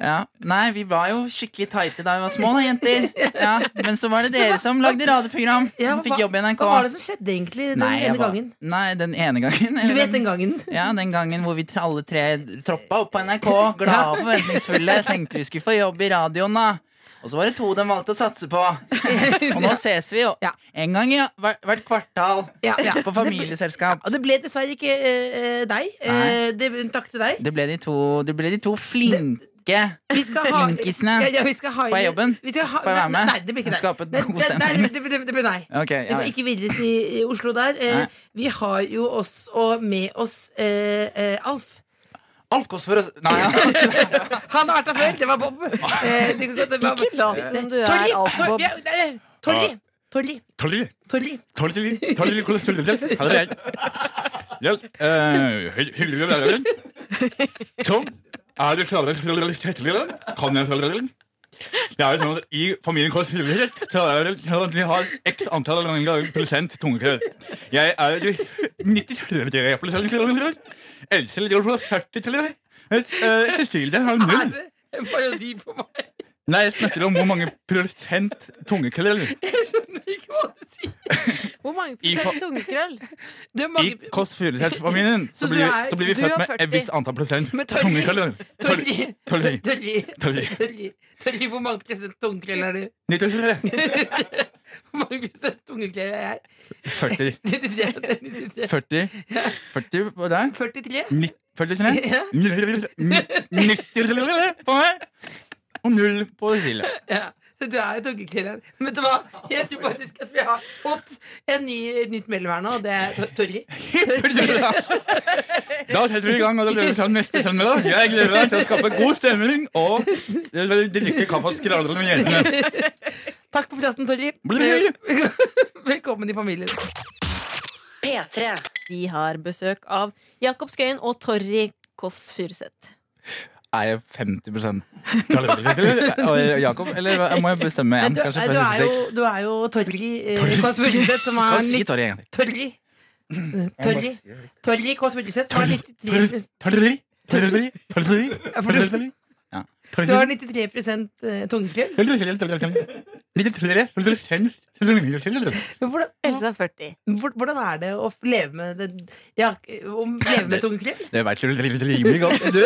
Speaker 6: Ja. Nei, vi var jo skikkelig tighte da vi var små, da, jenter. Ja, men så var det dere som lagde radioprogram.
Speaker 4: Ja,
Speaker 6: og fikk jobb i NRK.
Speaker 4: Hva var det som skjedde egentlig den
Speaker 6: Nei, jeg
Speaker 4: ene
Speaker 6: var-
Speaker 4: gangen?
Speaker 6: Nei, den ene gangen.
Speaker 4: Du vet den gangen.
Speaker 6: Ja, den gangen hvor vi t- alle tre troppa opp på NRK, glade og forventningsfulle, tenkte vi skulle få jobb i radioen, da. Og så var det to de valgte å satse på. Og nå ses vi jo
Speaker 4: Ja.
Speaker 6: en gang i hvert, hvert kvartal
Speaker 4: Ja, ja.
Speaker 6: på familieselskap.
Speaker 4: Og det ble dessverre ikke eh, deg. Eh, det, takk til deg.
Speaker 6: Det ble de to, det ble de to flinke.
Speaker 4: Vi skal ha,
Speaker 6: Linkisene.
Speaker 4: Ja, ja, vi skal ha
Speaker 6: Får jeg jobben?
Speaker 4: Vi skal ha,
Speaker 6: Får jeg være med?
Speaker 4: Nei, det blir ikke deg.
Speaker 6: Skape
Speaker 4: Nei,
Speaker 6: god
Speaker 4: nei, nei,
Speaker 6: stemning.
Speaker 4: Det, det, det blir nei.
Speaker 6: Ok,
Speaker 4: Vi
Speaker 6: ja.
Speaker 4: må ikke videre til Oslo der. Eh,
Speaker 6: Nei.
Speaker 4: vi har jo også med oss eh, eh, Alf.
Speaker 6: Alf Kåss Furuseth Nei, ja.
Speaker 4: Han har vært her før. Det var Bob. Eh, det, det var,
Speaker 3: Ikke lat som du er
Speaker 4: Torli!
Speaker 3: alt,
Speaker 4: Tor-
Speaker 3: Bob.
Speaker 4: ja, nei, nei, Torli! Torli!
Speaker 7: Tolli,
Speaker 4: Torli!
Speaker 7: tolli, tolli, tolli, tolli, tolli. Her er jeg. Ja, eh, hy- Hyggelig å være her. Sånn. Er du klar over tettelillen? Kan jeg tettelillen? Det er jo sånn at I familien Kåss Furuseth så er det sånn at vi har x antall prosent tungekrøll. Jeg er jo 93 prosent tungekrøll. Else ligger på 40 til det. Eh, Cecilie har null.
Speaker 4: En parodi på meg.
Speaker 7: Nei, jeg snakker om hvor mange prosent tungekrøll
Speaker 4: Ikke hva du sier.
Speaker 3: Hvor mange
Speaker 7: I fa-
Speaker 3: prosent tungekrøll?
Speaker 4: Det er
Speaker 7: I
Speaker 4: mange
Speaker 7: Kåss Furuseth-familien
Speaker 4: Så
Speaker 7: så,
Speaker 4: du
Speaker 7: blir
Speaker 4: er-
Speaker 7: vi- så blir vi
Speaker 3: du er
Speaker 7: født med
Speaker 3: 40.
Speaker 7: et visst antall prosent
Speaker 4: Men Torli-
Speaker 7: tungekrøller.
Speaker 4: Torli! Torli!
Speaker 7: Torli.
Speaker 4: Torli!
Speaker 7: Torli.
Speaker 4: Torli! Torli, Hvor mange prosent tungekrell er du?
Speaker 7: 93.
Speaker 4: Hvor mange prosent tungekrell er jeg?
Speaker 7: 40.
Speaker 4: 93?
Speaker 7: 40. 40 på deg.
Speaker 4: 43?
Speaker 7: Ni- 43.
Speaker 4: Ja.
Speaker 7: Ni- 90 på meg. Og null på Silje.
Speaker 4: Ja. Så Du er jo tungekrelleren. Men vet du hva? Jeg tror faktisk at vi har fått en ny, et nytt mellom her nå, og det er Tor- Torli.
Speaker 7: Da setter vi i gang, og da løper vi sammen neste søndag. Jeg gleder meg til å skape god stemning og drikke kaffe og skravle med jentene.
Speaker 4: Takk for praten, Torli.
Speaker 7: Blir-
Speaker 4: Velkommen i familien.
Speaker 1: P3.
Speaker 3: Vi har besøk av Jakob Skøyen og Torry Kåss Furuseth.
Speaker 6: Er jeg 50 Og Jakob, eller hva- må jeg bestemme
Speaker 4: Nei,
Speaker 6: igjen?
Speaker 4: du,
Speaker 6: Kanskje
Speaker 4: nei, du,
Speaker 6: først
Speaker 4: er
Speaker 6: sist?
Speaker 4: jo, du er jo Torri eh, Kåss Furuseth, som
Speaker 6: Hva
Speaker 4: har
Speaker 6: si
Speaker 4: litt
Speaker 6: Torry Mm. en gang til?
Speaker 4: Torri. Torri, Torri Kåss Furuseth, som har
Speaker 7: Torli.
Speaker 4: litt
Speaker 7: Torli. Torli. Torli. Torli.
Speaker 4: Ja, for
Speaker 7: Torli.
Speaker 4: du- Du har 93 eh, tungfrill. Men Hvordan,
Speaker 3: Else er 40.
Speaker 4: hvor- hvordan er det å leve med det ja, Å leve med tungfrill?
Speaker 6: Det veit du rimelig godt, du.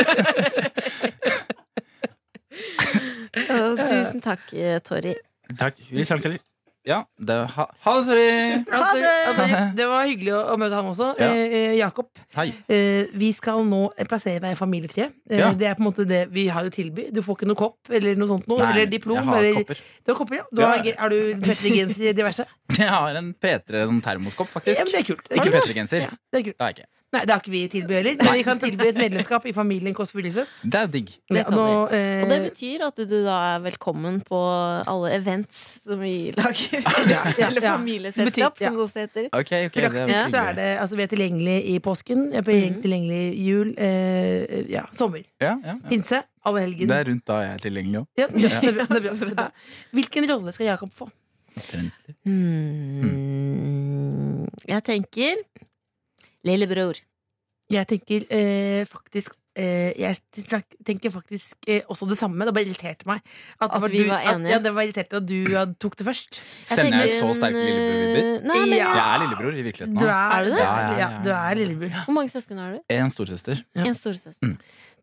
Speaker 3: Å, Tusen takk, eh, Torry.
Speaker 7: Takk. Vi snakkes.
Speaker 6: Ja, det, ha, ha det, sorry.
Speaker 3: Ha det!
Speaker 4: det! Det var hyggelig å å møte ham også.
Speaker 6: Ja.
Speaker 4: Eh, eh, Jakob,
Speaker 6: Hei.
Speaker 4: eh, vi skal nå plassere deg i familietre. Eh,
Speaker 6: Ja.
Speaker 4: Det er på en måte det vi har å tilby. Du får ikke noe kopp eller noe sånt noe.
Speaker 6: Nei,
Speaker 4: eller diplom.
Speaker 6: jeg har
Speaker 4: eller,
Speaker 6: kopper.
Speaker 4: Du har kopper, ja. Du
Speaker 6: Ja.
Speaker 4: har, ge- har du tøffere genser i diverse?
Speaker 6: Jeg har en P3 sånn termoskopp, faktisk.
Speaker 4: Ja, men det er kult. Det er kult,
Speaker 6: ikke
Speaker 4: da.
Speaker 6: P3-genser.
Speaker 4: Ja, det er kult.
Speaker 6: Det er ikke.
Speaker 4: Nei, det har ikke vi tilby heller. Men vi kan tilby et medlemskap i familien Kåss Furuseth.
Speaker 6: Det er digg.
Speaker 3: Det kan
Speaker 4: Nå, eh,
Speaker 3: Og det betyr at du da er velkommen på alle events som vi
Speaker 4: ja,
Speaker 3: lager.
Speaker 4: ja,
Speaker 3: Eller
Speaker 4: ja. Det
Speaker 3: familieselskap,
Speaker 4: betyr-
Speaker 3: som det også heter.
Speaker 6: Ok, ok,
Speaker 4: Praktisk
Speaker 6: det var
Speaker 4: så er
Speaker 6: hyggelig.
Speaker 4: det altså, Vi er tilgjengelig i påsken, vi er tilgjengelig i jul, eh, ja, sommer,
Speaker 6: Ja, ja, ja.
Speaker 4: pinse, alle helgen.
Speaker 6: Det er rundt da jeg er tilgjengelig òg.
Speaker 4: Ja, det er bra, det er bra. Ja. Hvilken rolle skal Jakob få?
Speaker 6: Mm.
Speaker 3: Hmm. Jeg tenker Lillebror.
Speaker 4: Jeg tenker eh, faktisk eh, jeg snak- tenker faktisk eh, også det samme. Det bare irriterte meg.
Speaker 3: At
Speaker 4: det
Speaker 3: vi var enige.
Speaker 4: At, ja, det var irritert at du ja, tok det først.
Speaker 6: Sender jeg
Speaker 3: tenker
Speaker 6: så sterke
Speaker 3: en, eh,
Speaker 6: lillebror-vibber?
Speaker 3: Nei, men
Speaker 4: Ja.
Speaker 6: Jeg er lillebror i virkeligheten.
Speaker 4: eh, Du
Speaker 6: nå.
Speaker 4: er,
Speaker 3: Er du det?
Speaker 4: Ja,
Speaker 6: Ja, ja, ja,
Speaker 4: du
Speaker 6: ja.
Speaker 4: er lillebror.
Speaker 3: Hvor mange søsken har du?
Speaker 6: Jeg er En storesøster.
Speaker 4: Ja.
Speaker 3: En storesøster.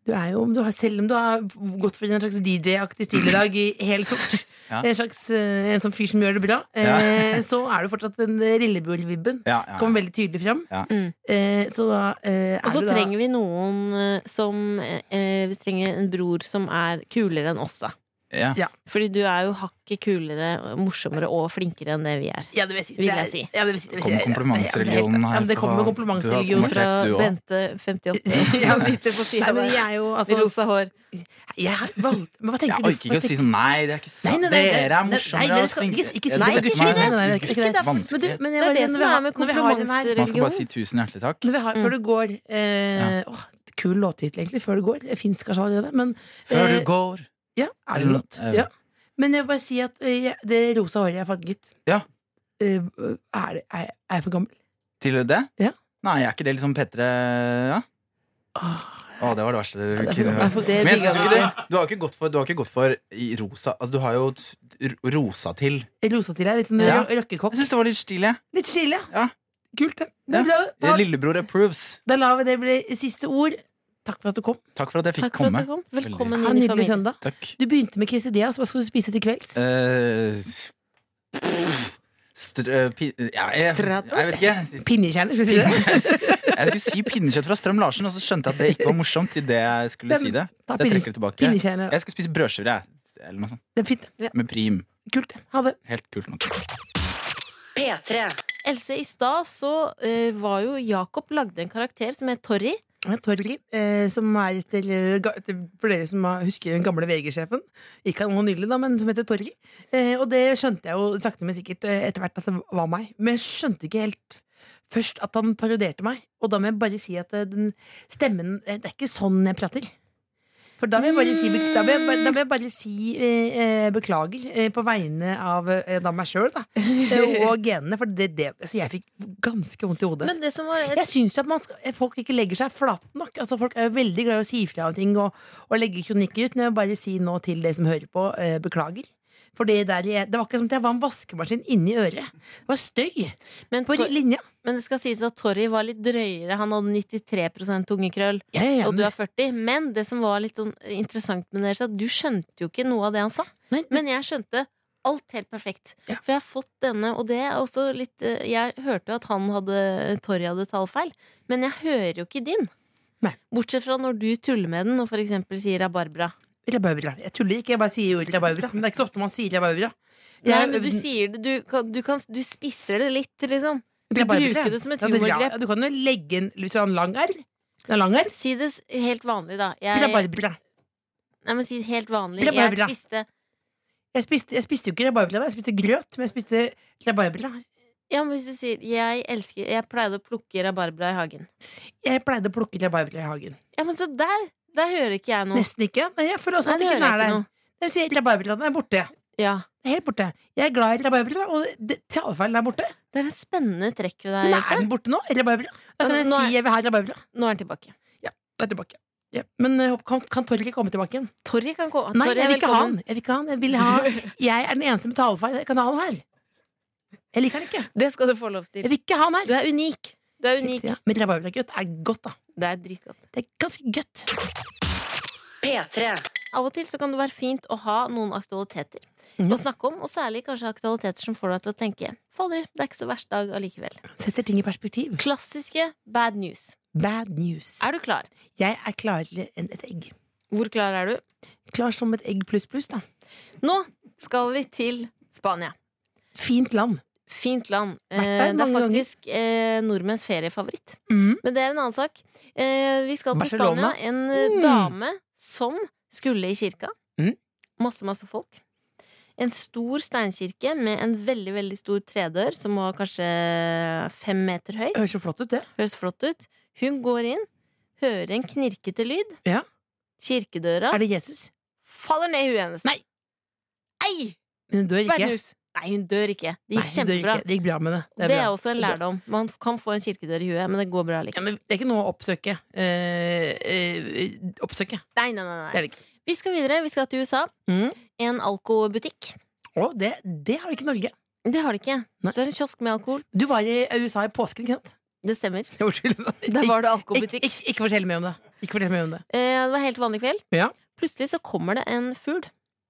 Speaker 4: Du er jo, du har, selv om du har gått for en slags DJ-aktig stil i dag, i helt sort,
Speaker 6: Ja.
Speaker 4: en slags eh, en sånn fyr som gjør det bra,
Speaker 6: Ja.
Speaker 4: eh, så er du fortsatt den lillebror-vibben.
Speaker 6: Ja, ja,
Speaker 4: Kommer
Speaker 6: ja.
Speaker 4: veldig tydelig fram.
Speaker 6: Ja.
Speaker 3: Mm.
Speaker 4: Eh, så da eh, er
Speaker 3: Og så
Speaker 4: du da
Speaker 3: trenger vi noen eh, som eh, eh, Vi trenger en bror som er kulere enn oss, da.
Speaker 6: Ja.
Speaker 3: Fordi du er jo hakket kulere, morsommere og flinkere enn det vi er.
Speaker 4: ja, det vil jeg si.
Speaker 3: vil
Speaker 4: Det er-
Speaker 3: jeg si.
Speaker 4: Ja, det vil jeg si. det vil jeg si.
Speaker 6: Kommer
Speaker 4: Ja, det
Speaker 6: komplimentsreligionen
Speaker 4: er helt-
Speaker 6: her
Speaker 4: Ja, men det
Speaker 6: på-
Speaker 4: kommer
Speaker 6: Du har
Speaker 4: komplimentsreligionen fra
Speaker 6: kommet
Speaker 3: Fra
Speaker 6: Perfekt, du også.
Speaker 3: Bente 58 som sitter på
Speaker 4: Nei,
Speaker 3: sida
Speaker 4: men
Speaker 3: der.
Speaker 4: jeg er jo
Speaker 3: I
Speaker 4: altså
Speaker 3: rosa hår.
Speaker 4: Jeg har valgt Men hva tenker
Speaker 6: Jeg
Speaker 4: du?
Speaker 6: orker ikke å si sånn Nei, det er ikke
Speaker 4: Nei,
Speaker 6: sant.
Speaker 4: nei, nei, nei,
Speaker 6: Dere er
Speaker 4: nei,
Speaker 6: morsommere.
Speaker 4: nei, dere
Speaker 6: og
Speaker 4: skal-
Speaker 6: flinkere.
Speaker 4: ikke- ikke si
Speaker 6: Jeg
Speaker 4: det,
Speaker 6: gutter
Speaker 4: ikke si
Speaker 6: meg,
Speaker 4: det, nei, nei,
Speaker 6: gutter-
Speaker 4: nei, ikke det. Men du,
Speaker 6: Vanskelig.
Speaker 4: men
Speaker 3: Det
Speaker 4: jeg
Speaker 3: er
Speaker 4: var
Speaker 3: det
Speaker 4: igjen,
Speaker 3: som
Speaker 4: vi har-
Speaker 3: er med
Speaker 4: når vi har den her-
Speaker 6: Man skal bare si
Speaker 3: konfirmantsreligion.
Speaker 6: tusen hjertelig takk.
Speaker 4: Når vi har, Før du går eh, åh, Kul låttittel, egentlig. Før du går. Det fins kanskje allerede, men
Speaker 6: Før
Speaker 4: eh,
Speaker 6: du går.
Speaker 4: Ja, er det
Speaker 6: Mm,
Speaker 4: låt?
Speaker 6: eh.
Speaker 4: Ja. Men jeg vil bare si at eh, jeg- det rosa håret jeg farget
Speaker 6: Ja.
Speaker 4: eh, er, det- er, er jeg for gammel?
Speaker 6: Tilhører det?
Speaker 4: Ja.
Speaker 6: Nei, er ikke det liksom P3 ja?
Speaker 4: Åh,
Speaker 6: Å, det var det verste du
Speaker 4: det er for
Speaker 6: kunne
Speaker 4: gammel. Det er
Speaker 6: Men jeg
Speaker 4: digga
Speaker 6: synes jo ikke det. Du har ikke gått for, du har ikke gått for i rosa Altså, du har jo t- r- rosa til.
Speaker 4: det. Rosa til deg, litt sånn
Speaker 6: Ja.
Speaker 4: ro- rockekokk.
Speaker 6: Jeg syns det var litt stilig. jeg.
Speaker 4: Litt chille,
Speaker 6: Ja.
Speaker 4: Kult, det. Da,
Speaker 6: Ja.
Speaker 4: ble-
Speaker 6: Det
Speaker 4: da,
Speaker 6: er Lillebror approves.
Speaker 4: da lar vi det bli siste ord. Takk for at du kom.
Speaker 6: Takk for at jeg fikk
Speaker 3: Takk for
Speaker 6: komme.
Speaker 3: at du kom.
Speaker 6: Veldig.
Speaker 3: Velkommen
Speaker 4: Ha en
Speaker 3: inn i
Speaker 4: nydelig
Speaker 3: familien.
Speaker 4: søndag.
Speaker 6: Takk.
Speaker 4: Du begynte med quesadillas. Hva skal du spise til kvelds?
Speaker 6: Eh, Str... eh, pi- ja, jeg, jeg vet ikke.
Speaker 4: Pinnekjerner, skal vi si det?
Speaker 6: Jeg skulle si pinnekjøtt fra Strøm Larsen, og så skjønte jeg at det ikke var morsomt. Til det jeg skulle si det
Speaker 4: Ta
Speaker 6: Så jeg
Speaker 4: pinne-
Speaker 6: trekker det tilbake.
Speaker 4: Pinnekjerner.
Speaker 6: Jeg skal spise brødskiver, jeg. Eller noe sånt.
Speaker 4: Det er fint. Ja.
Speaker 6: Med prim.
Speaker 4: Kult. Ha det.
Speaker 6: Helt kult nok.
Speaker 1: P3.
Speaker 3: Else, i stad så eh, var jo Jakob lagde en karakter som het Torry.
Speaker 4: Ja, Torgrim, eh, som er etter eh, ga- etter- For dere som har- husker den gamle VG-sjefen. Ikke han var nydelig, da, men som heter Torgrim. Eh, og det skjønte jeg jo sakte, men sikkert eh, etter hvert at det var meg. Men jeg skjønte ikke helt først at han parodierte meg. Og da må jeg bare si at eh, den stemmen eh, Det er ikke sånn jeg prater. For da vil jeg bare si, be- da vil jeg, bare- da vil jeg bare si eh, eh, beklager eh, på vegne av eh, da meg sjøl, da. Eh, og genene. For det, det, altså, jeg fikk ganske vondt i hodet.
Speaker 3: Men det som var
Speaker 4: Jeg syns at man skal, eh, folk ikke legger seg flat nok. Altså, folk er jo veldig glad i å si ifra om ting og, og legge kronikker ut. Men jeg vil bare si nå til dere som hører på, eh, beklager. For det, der, jeg- det var ikke som at jeg var en vaskemaskin inni øret. Det var støy
Speaker 3: men,
Speaker 4: på
Speaker 3: Tor-
Speaker 4: linja.
Speaker 3: men det skal sies at Torry var litt drøyere. Han hadde 93 tungekrøll,
Speaker 4: Ja, ja, ja,
Speaker 3: og
Speaker 4: men-
Speaker 3: du er 40. Men det som var litt sånn interessant med det, er at du skjønte jo ikke noe av det han sa.
Speaker 4: Nei, men-
Speaker 3: Men jeg skjønte alt helt perfekt.
Speaker 4: Ja.
Speaker 3: For jeg har fått denne, og det er også litt eh, Jeg hørte jo at han hadde Torry hadde tallfeil, men jeg hører jo ikke din.
Speaker 4: Nei.
Speaker 3: Bortsett fra når du tuller med den og for eksempel sier rabarbra.
Speaker 4: Rabarbra. Jeg tuller ikke, jeg bare sier ordet rabarbra. Men det er ikke så ofte man sier rabarbra.
Speaker 3: Nei,
Speaker 4: Jeg-
Speaker 3: men du sier det, du, kan, du, kan, du spisser det litt, liksom. Du
Speaker 4: rabarbra.
Speaker 3: bruker det som et
Speaker 4: Ja, ra-
Speaker 3: humorgrep.
Speaker 4: Du kan jo legge en Hvis du har en lang r. En lang r.
Speaker 3: Si det s- helt vanlig, da. Jeg,
Speaker 4: Rabarbra.
Speaker 3: nei, men si det helt vanlig. Jeg
Speaker 4: Rabarbra.
Speaker 3: spiste
Speaker 4: Jeg spiste, jeg spiste jo ikke rabarbra, da. jeg spiste grøt, men jeg spiste rabarbra.
Speaker 3: Ja, men hvis du sier 'jeg elsker Jeg pleide å plukke rabarbra i hagen'.
Speaker 4: Jeg pleide å plukke rabarbra i hagen.
Speaker 3: Ja, men se der! Der hører ikke jeg noe.
Speaker 4: Nesten ikke. Nei, jeg føler også
Speaker 3: Nei,
Speaker 4: at
Speaker 3: det
Speaker 4: ikke den
Speaker 3: hører
Speaker 4: er
Speaker 3: jeg
Speaker 4: der.
Speaker 3: ikke noe.
Speaker 4: Jeg sier rabarbraen er borte.
Speaker 3: Ja.
Speaker 4: Det er Helt borte. Jeg er glad i rabarbra, og det- talefeilen er borte.
Speaker 3: Det er et spennende trekk ved
Speaker 4: Men
Speaker 3: deg,
Speaker 4: er
Speaker 3: Else.
Speaker 4: den borte nå? Rabarbra. Da kan
Speaker 3: Altså,
Speaker 4: jeg
Speaker 3: nå
Speaker 4: si
Speaker 3: er-
Speaker 4: jeg vil ha rabarbra.
Speaker 3: Nå er den tilbake.
Speaker 4: Det er tilbake. Ja, men eh, kan, kan Torget komme tilbake igjen?
Speaker 3: Torry kan gå.
Speaker 4: Nei,
Speaker 3: Torry er
Speaker 4: jeg vil ikke ha han.
Speaker 3: velkommen.
Speaker 4: Jeg vil ikke ha han. Jeg, vil ha han. jeg er den eneste med talefeil i kanalen her. Jeg liker han ikke.
Speaker 3: Det skal du få lov til.
Speaker 4: Jeg vil ikke ha han
Speaker 3: Du
Speaker 4: her.
Speaker 3: er unik. Du er unik.
Speaker 4: Ja, men rabarbragrøt er godt, da.
Speaker 3: Det er dritgodt.
Speaker 4: Det er ganske godt.
Speaker 1: P3.
Speaker 3: Av og til så kan det være fint å ha noen aktualiteter
Speaker 4: Mhm.
Speaker 3: å snakke om, og særlig kanskje aktualiteter som får deg til å tenke fader, det er ikke så verst dag allikevel.
Speaker 4: Setter ting i perspektiv.
Speaker 3: Klassiske bad news.
Speaker 4: Bad news.
Speaker 3: Er du klar?
Speaker 4: Jeg er klarere enn et egg.
Speaker 3: Hvor klar er du?
Speaker 4: Klar som et egg pluss pluss, da.
Speaker 3: Nå skal vi til Spania.
Speaker 4: Fint land.
Speaker 3: Fint land.
Speaker 4: Vært der
Speaker 3: Eh, det er
Speaker 4: mange ganger.
Speaker 3: faktisk eh, nordmenns feriefavoritt.
Speaker 4: Mm.
Speaker 3: Men det er en annen sak. Eh, vi skal til Spania.
Speaker 4: Barcelona.
Speaker 3: En eh,
Speaker 4: Mm.
Speaker 3: dame som skulle i kirka.
Speaker 4: Mm.
Speaker 3: Masse, masse folk. En stor steinkirke med en veldig veldig stor tredør som var kanskje fem meter høy.
Speaker 4: Høres så flott ut, det.
Speaker 3: Høres flott ut. Hun går inn, hører en knirkete lyd.
Speaker 4: Ja.
Speaker 3: Kirkedøra
Speaker 4: Er det Jesus?
Speaker 3: faller ned i huet hennes.
Speaker 4: Nei.
Speaker 3: Ei!
Speaker 4: Men hun dør ikke.
Speaker 3: Bernhus. Nei, hun dør ikke. Det
Speaker 4: Nei,
Speaker 3: gikk
Speaker 4: hun dør
Speaker 3: kjempebra.
Speaker 4: ikke. Det gikk bra med det.
Speaker 3: Det er,
Speaker 4: bra.
Speaker 3: også
Speaker 4: Det
Speaker 3: en
Speaker 4: er bra.
Speaker 3: lærdom. Man kan få en kirkedør i huet, men det går bra
Speaker 4: Ja,
Speaker 3: likevel.
Speaker 4: men det er ikke noe å oppsøke. Eh, eh, oppsøke.
Speaker 3: Nei, nei, nei,
Speaker 4: Det
Speaker 3: nei.
Speaker 4: er det ikke.
Speaker 3: Vi skal videre. Vi skal til USA.
Speaker 4: Mm.
Speaker 3: En alkobutikk.
Speaker 4: Å, det, det har det ikke i Norge.
Speaker 3: Det har de ikke.
Speaker 4: Nei.
Speaker 3: Det er en kiosk med alkohol.
Speaker 4: Du var i USA i påsken, ikke sant?
Speaker 3: Det stemmer.
Speaker 4: Jeg var til-
Speaker 3: Der var det
Speaker 4: Ikke,
Speaker 3: alkobutikk.
Speaker 4: ikke, ikke fortell meg om det. Ikke fortell meg om det.
Speaker 3: Eh, det var helt vanlig kveld.
Speaker 4: Ja.
Speaker 3: Plutselig så kommer det en fugl.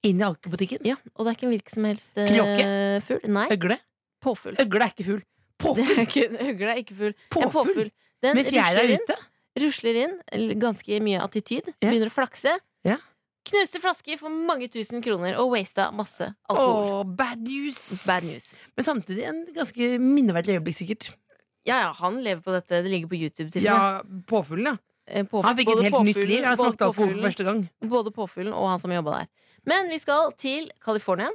Speaker 4: Inn i alkobutikken.
Speaker 3: Ja, og det er ikke en hvilken som helst eh,
Speaker 4: Kråke?
Speaker 3: fugl. Nei,
Speaker 4: Øgle.
Speaker 3: påfugl.
Speaker 4: Øgle er ikke fugl.
Speaker 3: Det
Speaker 4: Påfugl.
Speaker 3: er ikke en øgle, er ikke fugl. En
Speaker 4: Påfugl.
Speaker 3: påfugl. Den
Speaker 4: Med fjæra
Speaker 3: rusler inn,
Speaker 4: ute.
Speaker 3: rusler inn, eller ganske mye attityd,
Speaker 4: Ja.
Speaker 3: begynner å flakse.
Speaker 4: Ja.
Speaker 3: Knuste flasker for mange tusen kroner og wasta masse
Speaker 4: Å,
Speaker 3: alkohol.
Speaker 4: bad news.
Speaker 3: Bad news.
Speaker 4: Men samtidig en ganske minneverdig øyeblikk, sikkert.
Speaker 3: Ja, ja, han lever på dette. Det ligger på YouTube til og med.
Speaker 4: Ja, påfuglen, ja.
Speaker 3: Eh, påf-
Speaker 4: Han fikk et
Speaker 3: både
Speaker 4: helt nytt
Speaker 3: påfuglen-
Speaker 4: liv. Han
Speaker 3: både
Speaker 4: smakte alkohol for
Speaker 3: påfuglen-
Speaker 4: første gang.
Speaker 3: Både påfuglen og han som jobba der. Men vi skal til California.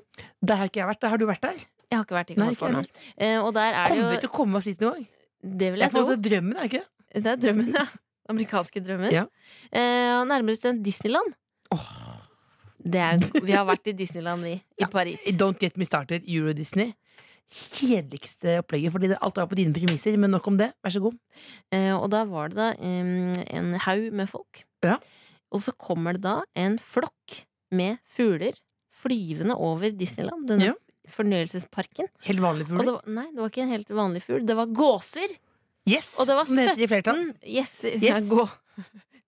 Speaker 4: Der har ikke jeg vært. Der har du vært der?
Speaker 3: Jeg har ikke vært i
Speaker 4: Nei, ikke
Speaker 3: California. Eh, og der er det
Speaker 4: Kommer vi
Speaker 3: jo
Speaker 4: til å komme oss dit noen gang?
Speaker 3: Det
Speaker 4: Det
Speaker 3: vil jeg
Speaker 4: er på en
Speaker 3: tro.
Speaker 4: måte drømmen, er det ikke det?
Speaker 3: Det er drømmen, ja. Den Amerikanske drømmen.
Speaker 4: Ja.
Speaker 3: Eh, og nærmere bestemt Disneyland. Det er, vi har vært i Disneyland, vi. I
Speaker 4: Ja.
Speaker 3: Paris.
Speaker 4: Don't Get Me Started, Euro Disney. Kjedeligste opplegget, fordi det alt var på dine premisser. Men nok om det. Vær så god.
Speaker 3: Eh, og da var det da em, en haug med folk.
Speaker 4: Ja.
Speaker 3: Og så kommer det da en flokk med fugler flyvende over Disneyland. Denne
Speaker 4: Ja.
Speaker 3: fornøyelsesparken.
Speaker 4: Helt vanlige
Speaker 3: Og det
Speaker 4: fugler.
Speaker 3: var, nei, det var ikke en helt vanlig fugl. Det var gåser!
Speaker 4: Yes!
Speaker 3: og det var
Speaker 4: som heter i flertall.
Speaker 3: Mm, Gjesser.
Speaker 4: Yes.
Speaker 3: Ja, gå.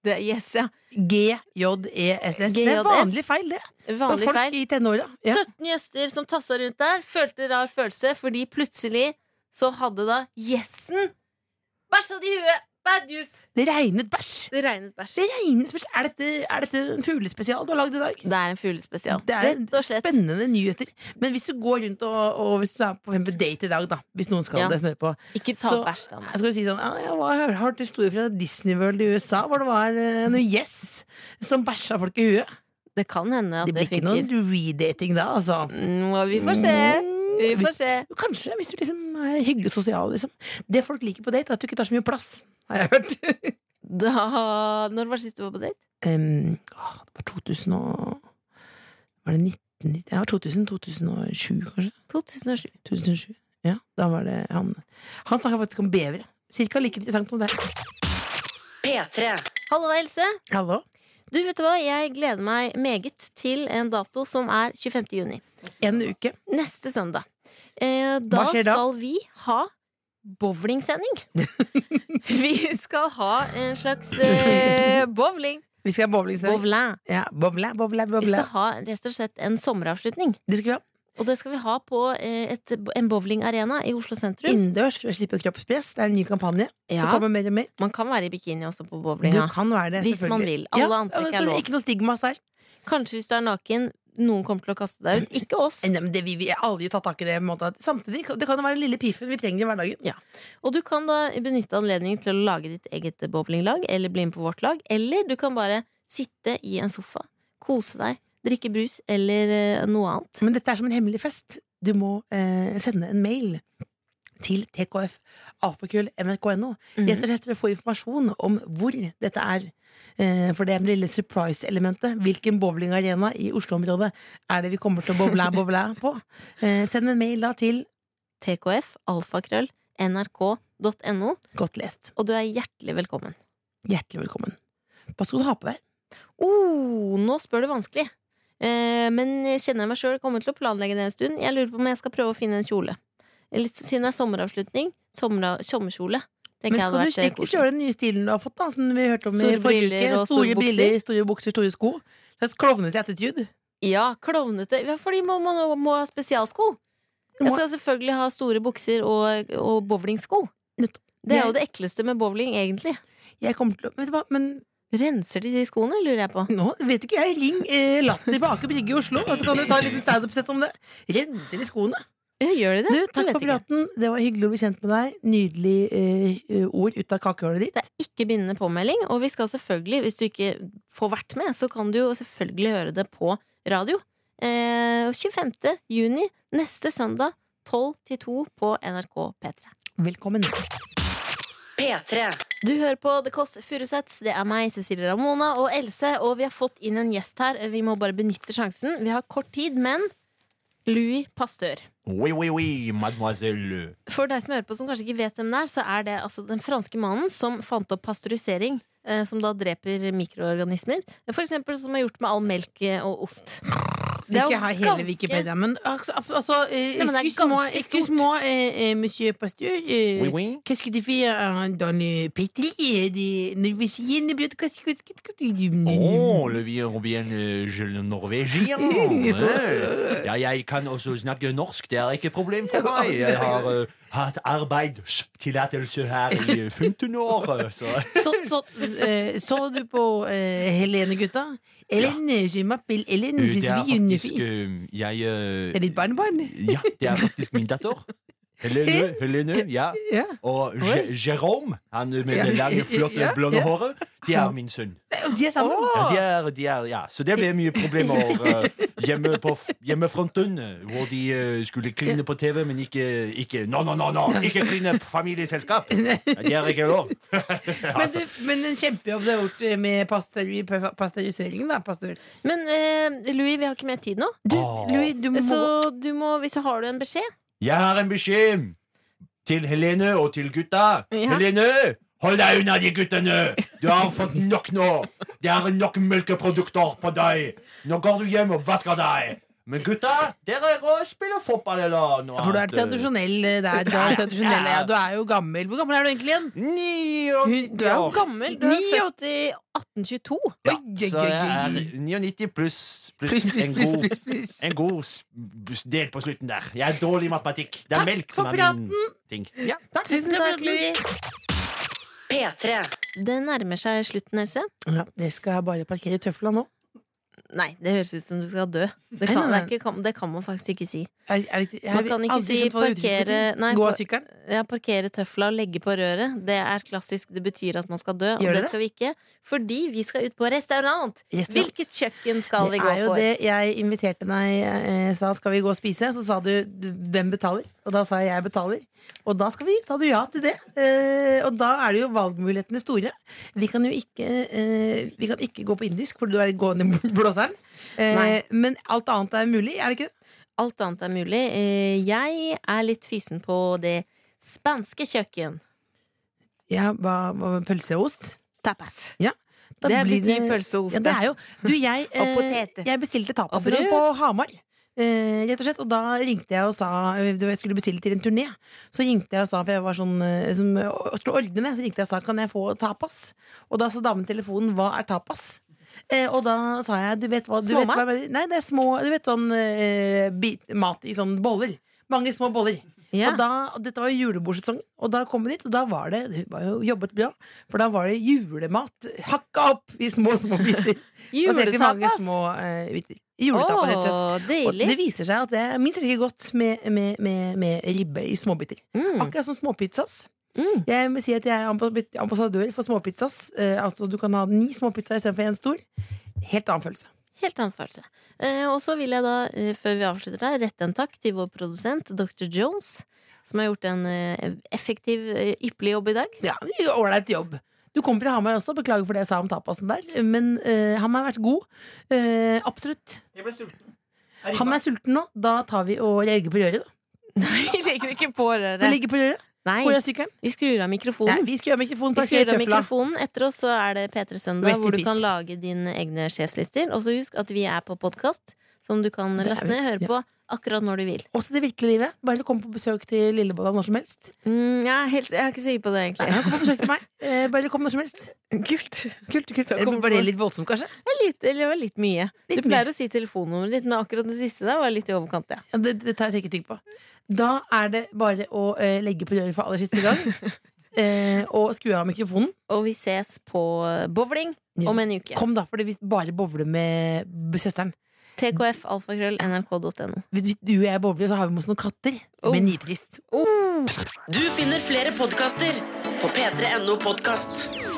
Speaker 3: Det er yes, ja.
Speaker 4: GJESS. E Det
Speaker 3: GJES.
Speaker 4: er vanlig feil, det. Og
Speaker 3: E Vanlig
Speaker 4: folk
Speaker 3: feil.
Speaker 4: i tenåra. Ja.
Speaker 3: 17 gjester som tassa rundt der, følte rar følelse, fordi plutselig så hadde da gjessen bæsja det i huet! Bad news!
Speaker 4: Det regnet bæsj.
Speaker 3: Det regnet bæsj.
Speaker 4: Det regnet bæsj. Er dette, er dette en fuglespesial du har lagd i dag?
Speaker 3: Det er en fuglespesial.
Speaker 4: Det er
Speaker 3: Rett og slett.
Speaker 4: spennende nyheter. Men hvis du går rundt og, og hvis du er på en date i dag, da, hvis noen skal
Speaker 3: Ja.
Speaker 4: det, som hører på,
Speaker 3: Ikke ta
Speaker 4: Så-
Speaker 3: bæsj, da.
Speaker 4: Jeg skal si sånn, ja, jeg var, hørte historier fra Disney World i USA Hvor det var eh, noen gjess som bæsja folk i huet
Speaker 3: Det kan hende at
Speaker 4: Det
Speaker 3: det
Speaker 4: blir ikke
Speaker 3: funker.
Speaker 4: noen redating da, altså
Speaker 3: Nå, vi får se.
Speaker 4: Mm.
Speaker 3: Vi får se.
Speaker 4: Kanskje, hvis du liksom er hyggelig sosial liksom. Det folk liker på date er at du ikke tar så mye plass Har jeg hørt
Speaker 3: Da, når var det sist du var på date?
Speaker 4: Em, åh, Det var 2000 og Var det 19... Ja, 2000, 2007 kanskje
Speaker 3: 2007.
Speaker 4: 2007, ja, da var det han Han snakket faktisk om bever Cirka like interessant som det
Speaker 1: P3.
Speaker 3: Hallo, Else.
Speaker 4: Hallo
Speaker 3: Du, vet du hva? Jeg gleder meg meget til en dato som er 25. juni.
Speaker 4: En uke
Speaker 3: Neste søndag. Eh, da,
Speaker 4: Hva skjer da?
Speaker 3: skal vi ha bowlingsending. vi skal ha en slags eh, bowling.
Speaker 4: Vi skal ha bowlingsdag
Speaker 3: Bowling.
Speaker 4: Ja, bobla, bobla, bobla.
Speaker 3: Vi skal ha rett og slett en sommeravslutning.
Speaker 4: Det skal vi ha.
Speaker 3: Og det skal vi ha på eh, et, en bowlingarena i Oslo sentrum.
Speaker 4: Innendørs for å slippe kroppspress. Det er en ny kampanje. Det
Speaker 3: Ja,
Speaker 4: kommer mer og mer.
Speaker 3: man kan være i bikini også på
Speaker 4: Du
Speaker 3: bowlinga.
Speaker 4: kan være det,
Speaker 3: Hvis man vil.
Speaker 4: selvfølgelig.
Speaker 3: Alle
Speaker 4: Ja,
Speaker 3: antrekk
Speaker 4: men
Speaker 3: er
Speaker 4: så
Speaker 3: lov.
Speaker 4: Ikke noe stigmas der.
Speaker 3: Kanskje hvis du er naken, noen kommer til å kaste deg ut. Ikke oss.
Speaker 4: Nei, men det, vi, vi har aldri tatt tak i det. på en måte. Samtidig, det kan jo være den lille piffen vi trenger i hverdagen.
Speaker 3: Og du kan da benytte anledningen til å lage ditt eget bowlinglag, eller bli med på vårt lag. Eller du kan bare sitte i en sofa, kose deg, drikke brus eller eh, noe annet.
Speaker 4: Men dette er som en hemmelig fest. Du må eh, sende en mail til tkf.alfakrøll.nrk.no.
Speaker 3: Mm-hmm.
Speaker 4: Rett og slett for å få informasjon om hvor dette er. Eh, for det er det lille surprise-elementet. Hvilken bowlingarena i Oslo-området er det vi kommer til å bowla, bowla på? Eh, send en mail da til
Speaker 3: TKF, alfakrøll, nrk.no,
Speaker 4: Godt lest.
Speaker 3: og du er hjertelig velkommen.
Speaker 4: Hjertelig velkommen. Hva skal du ha på deg?
Speaker 3: Oh, nå spør du vanskelig. Eh, men jeg kjenner meg sjøl, kommer til å planlegge det en stund. Jeg lurer på om jeg skal prøve å finne en kjole. Eller, siden det er sommeravslutning, sommer, sommerkjole. Tenker
Speaker 4: Men
Speaker 3: jeg
Speaker 4: skal
Speaker 3: hadde
Speaker 4: du
Speaker 3: vært, eh,
Speaker 4: ikke
Speaker 3: koselig.
Speaker 4: kjøre den nye stilen du har fått, da? Som vi hørte om
Speaker 3: Store
Speaker 4: i forrige
Speaker 3: briller
Speaker 4: uke.
Speaker 3: og store
Speaker 4: Store
Speaker 3: bukser.
Speaker 4: briller, store bukser, store sko. Slags klovnete attitude.
Speaker 3: Ja, klovnete. Ja, fordi man må, må, må ha spesialsko. Jeg skal selvfølgelig ha store bukser og, og bowlingsko.
Speaker 4: Nettopp.
Speaker 3: Det er jo det ekleste med bowling, egentlig.
Speaker 4: Jeg kommer til å Vet du hva, men
Speaker 3: Renser de de skoene, lurer jeg på.
Speaker 4: nå vet ikke jeg. Ring eh, Latter på Aker Brygge i Oslo, og så kan du ta en liten standup-sett om det. Renser i skoene.
Speaker 3: Ja, gjør de det?
Speaker 4: Du,
Speaker 3: Jeg
Speaker 4: takk
Speaker 3: vet
Speaker 4: for
Speaker 3: ikke.
Speaker 4: praten. Det var hyggelig å bli kjent med deg. Nydelig eh, ord ut av kakehullet ditt.
Speaker 3: Det er ikke bindende påmelding, og vi skal selvfølgelig, hvis du ikke får vært med, så kan du jo selvfølgelig høre det på radio. Eh, 25. juni, neste søndag, 12 til 2 på NRK P3.
Speaker 4: Velkommen.
Speaker 1: P3.
Speaker 3: Du hører på The Kåss Furuseths. Det er meg, Cecilie Ramona og Else. Og vi har fått inn en gjest her. Vi må bare benytte sjansen. Vi har kort tid, men Louis Pasteur.
Speaker 8: Oui, oui, oui, mademoiselle.
Speaker 3: For deg som hører på som kanskje ikke vet hvem det er, så er det altså den franske mannen som fant opp pasteurisering. eh, Som da dreper mikroorganismer. For eksempel som er gjort med all melk eh, og ost. Det er jo
Speaker 4: Ikke ha hele
Speaker 3: ganske-
Speaker 4: Wikipedia, men altså, altså eh,
Speaker 3: Nei, men det er
Speaker 4: Excuse-moi,
Speaker 3: ganske
Speaker 4: excuse-moi, eh, eh, monsieur Pasteur. eh,
Speaker 8: Oui, oui.
Speaker 4: Qu'est-ce que tu fais euh, dans le pétri et des norvégiens de biot- Qu'est-ce que qu'est-ce que tu dis
Speaker 8: Oh, le vieux Robin eh, je le norvegien. Eh. Ja, jeg kan også snakke norsk, det er ikke et problem for meg. Jeg har eh, hatt arbeidstillatelse her i 15 år. eh, Så.
Speaker 4: Så, så, eh, så du på eh, Helene, gutta? Helen, je m'appelle Helen, je
Speaker 8: Det er
Speaker 4: suis une
Speaker 8: faktisk
Speaker 4: fille.
Speaker 8: eh, jeg eh,
Speaker 4: Det er ditt barnebarn?
Speaker 8: Ja, det er faktisk min datter. Helene, Helene ja.
Speaker 4: Ja.
Speaker 8: Og J- Jerome, han med det lange, flotte,
Speaker 4: Ja,
Speaker 8: blonde
Speaker 4: ja.
Speaker 8: håret, det er min sønn.
Speaker 4: De er sammen?
Speaker 8: Ja, de er, de er, ja. Så det ble mye problemer eh, hjemme på f- hjemmefronten, eh, hvor de eh, skulle kline på TV, men ikke, ikke No, no, no, no! Ikke kline på familieselskap! Ja, det er ikke lov.
Speaker 4: Men,
Speaker 8: Altså.
Speaker 4: du, men en kjempejobb du har gjort eh, med pasteri- pasteuriseringen, da, Pasteur.
Speaker 3: Men eh, Louis, vi har ikke mer tid nå.
Speaker 4: Du,
Speaker 8: Åh.
Speaker 4: Louis, du må
Speaker 3: Så du må, hvis du har du en beskjed
Speaker 8: Jeg har en beskjed til Helene og til gutta.
Speaker 3: Ja.
Speaker 8: Helene, hold deg unna de guttene! Du har fått nok nå. Det er nok melkeprodukter på deg. Nå går du hjem og vasker deg. Men gutta, dere går og spiller fotball eller noe
Speaker 4: For du er tradisjonell eh, der. Du er, tradisjonell, ja. du er jo gammel. Hvor gammel er du egentlig igjen? Hun-
Speaker 8: 99
Speaker 4: du er jo
Speaker 8: år.
Speaker 3: Gammel. Du er
Speaker 4: Ni-
Speaker 3: født i 1822.
Speaker 8: Ja,
Speaker 4: Oi, oi,
Speaker 8: så
Speaker 4: oi,
Speaker 8: jeg er
Speaker 4: oi.
Speaker 8: 99 pluss
Speaker 4: Pluss,
Speaker 8: pluss
Speaker 4: pluss,
Speaker 8: en
Speaker 4: pluss,
Speaker 8: god,
Speaker 4: pluss, pluss.
Speaker 8: en god s- s- del på slutten der. Jeg er dårlig i matematikk. Det er
Speaker 4: Takk
Speaker 8: melk som
Speaker 4: for
Speaker 8: er min ting.
Speaker 4: Ja, takk.
Speaker 3: Tusen takk, Louis.
Speaker 1: P3.
Speaker 3: Det nærmer seg slutten, Else.
Speaker 4: Ja, det skal jeg bare parkere tøfla nå.
Speaker 3: Nei, det høres ut som du skal dø. Det
Speaker 4: Nei,
Speaker 3: kan, det
Speaker 4: nei,
Speaker 3: er ikke, kan, det kan man faktisk ikke si.
Speaker 4: Er, er det, ikke- jeg
Speaker 3: Man
Speaker 4: har
Speaker 3: kan ikke
Speaker 4: aldri
Speaker 3: si
Speaker 4: skjønt hva det uttrykket
Speaker 3: parkere-
Speaker 4: betyr.
Speaker 3: nei,
Speaker 4: Gå av
Speaker 3: på-
Speaker 4: sykkelen.
Speaker 3: Ja, parkere tøfla og legge på røret. Det er klassisk. Det betyr at man skal dø, og
Speaker 4: Gjør
Speaker 3: det,
Speaker 4: det det?
Speaker 3: skal vi ikke. Fordi vi skal ut på restaurant!
Speaker 4: Restaurant.
Speaker 3: Hvilket kjøkken skal vi
Speaker 4: det
Speaker 3: gå
Speaker 4: er jo
Speaker 3: for?
Speaker 4: det jeg inviterte deg eh, sa skal vi gå og spise. Så sa du du, hvem betaler? Og da sa jeg jeg betaler. Og da skal vi, sa du ja til det. Eh, og da er det jo valgmulighetene store. Vi kan jo ikke, eh, vi kan ikke gå på indisk, for du er gående i blåseren. Eh,
Speaker 3: Nei.
Speaker 4: men alt annet er mulig, er det ikke det?
Speaker 3: Alt annet er mulig. Eh, Jeg er litt fysen på det spanske kjøkken.
Speaker 4: Ja, hva, hva med pølse og ost?
Speaker 3: Tapas.
Speaker 4: Ja. Da
Speaker 3: Det
Speaker 4: blir
Speaker 3: betyr pølse og ost,
Speaker 4: Ja, det er jo. Du, jeg,
Speaker 3: Og
Speaker 4: eh,
Speaker 3: poteter.
Speaker 4: jeg bestilte
Speaker 3: Og
Speaker 4: tapasrund
Speaker 3: brød.
Speaker 4: på Hamar. Eh, rett og slett, og da ringte jeg og sa eh, det var- Jeg skulle bestille til en turné. Så ringte jeg og sa For jeg var sånn eh, som, å, skulle ordne med, Så ringte jeg og sa kan jeg få tapas. Og da sa damen i telefonen hva er tapas? Eh, og da sa jeg du vet hva, du vet
Speaker 3: Småmat?
Speaker 4: hva Nei, det er små Du vet sånn eh, bit, mat i sånne boller. Mange små boller.
Speaker 3: Ja.
Speaker 4: Og da, og dette var jo julebordsesongen, og da kom vi dit, og da var det Hun var jo jobbet bra, for da var det julemat hakka opp i små, små biter. Basert i mange
Speaker 3: Juletapas.
Speaker 4: små eh, biter. Juletapas, rett og slett.
Speaker 3: Å,
Speaker 4: Og
Speaker 3: deilig.
Speaker 4: det viser seg at det er minst like godt med, med, med, med ribbe i småbiter.
Speaker 3: Mm.
Speaker 4: Akkurat som småpizzas.
Speaker 3: Mm.
Speaker 4: Jeg må si at jeg er ambas- ambassadør for småpizzas. Eh, altså du kan ha ni småpizzaer istedenfor én stor. Helt annen følelse.
Speaker 3: Helt annen følelse. Eh, og så vil jeg da, eh, før vi avslutter her, rette en takk til vår produsent Dr. Jones, som har gjort en eh, effektiv, eh, ypperlig jobb i dag.
Speaker 4: Ja, ålreit jobb. Du kommer til Hamar også, beklager for det jeg sa om tapasen der. Men eh, han har vært god. Eh, absolutt.
Speaker 8: Jeg ble sulten.
Speaker 4: Han er sulten nå. Da tar vi og legger på røret. da.
Speaker 3: Vi legger ikke på
Speaker 4: Vi
Speaker 3: røret.
Speaker 4: legger på røret.
Speaker 3: Nei,
Speaker 4: Hvor er sykkelen?
Speaker 3: vi skrur av
Speaker 4: Nei,
Speaker 3: mikrofonen.
Speaker 4: vi skal gjøre mikrofonen
Speaker 3: Vi
Speaker 4: på
Speaker 3: skrur av
Speaker 4: kjøretøfla.
Speaker 3: mikrofonen. Etter oss så er det P3
Speaker 4: Rest
Speaker 3: Søndag,
Speaker 4: in
Speaker 3: hvor du
Speaker 4: peace.
Speaker 3: kan lage dine egne sjefslister. Og så husk at vi er på podkast, som du kan
Speaker 4: er
Speaker 3: laste
Speaker 4: vi,
Speaker 3: ned, høre
Speaker 4: ja.
Speaker 3: på akkurat når du vil.
Speaker 4: Også det virkelige livet. Bare kom på besøk til Lillebolla når som helst.
Speaker 3: Mm, jeg, er helt, jeg er ikke sikker på det, egentlig.
Speaker 4: Kom på besøk til meg. Eh, Bare kom når som helst.
Speaker 3: Kult.
Speaker 4: Kult, kult.
Speaker 3: Takk for-
Speaker 4: Ble det litt voldsomt, kanskje?
Speaker 3: Det er litt, eller det var litt mye.
Speaker 4: Litt
Speaker 3: du pleier å si telefonnummeret ditt, men akkurat det siste der var litt i overkant. Ja.
Speaker 4: Ja, det, det tar jeg sikkert ting på. Da er det bare å eh, legge på røret for aller siste gang. eh, og skru av mikrofonen.
Speaker 3: Og vi ses på bowling
Speaker 4: Ja.
Speaker 3: om en uke.
Speaker 4: Kom, da, for vi bare bowler med b- søsteren.
Speaker 3: TKF, alfakrøll, nrk.no.
Speaker 4: Hvis hvis du og jeg bowler, så har vi med oss noen katter.
Speaker 3: Oh.
Speaker 4: Med nitrist.
Speaker 1: Du finner flere podkaster på p3.no podkast.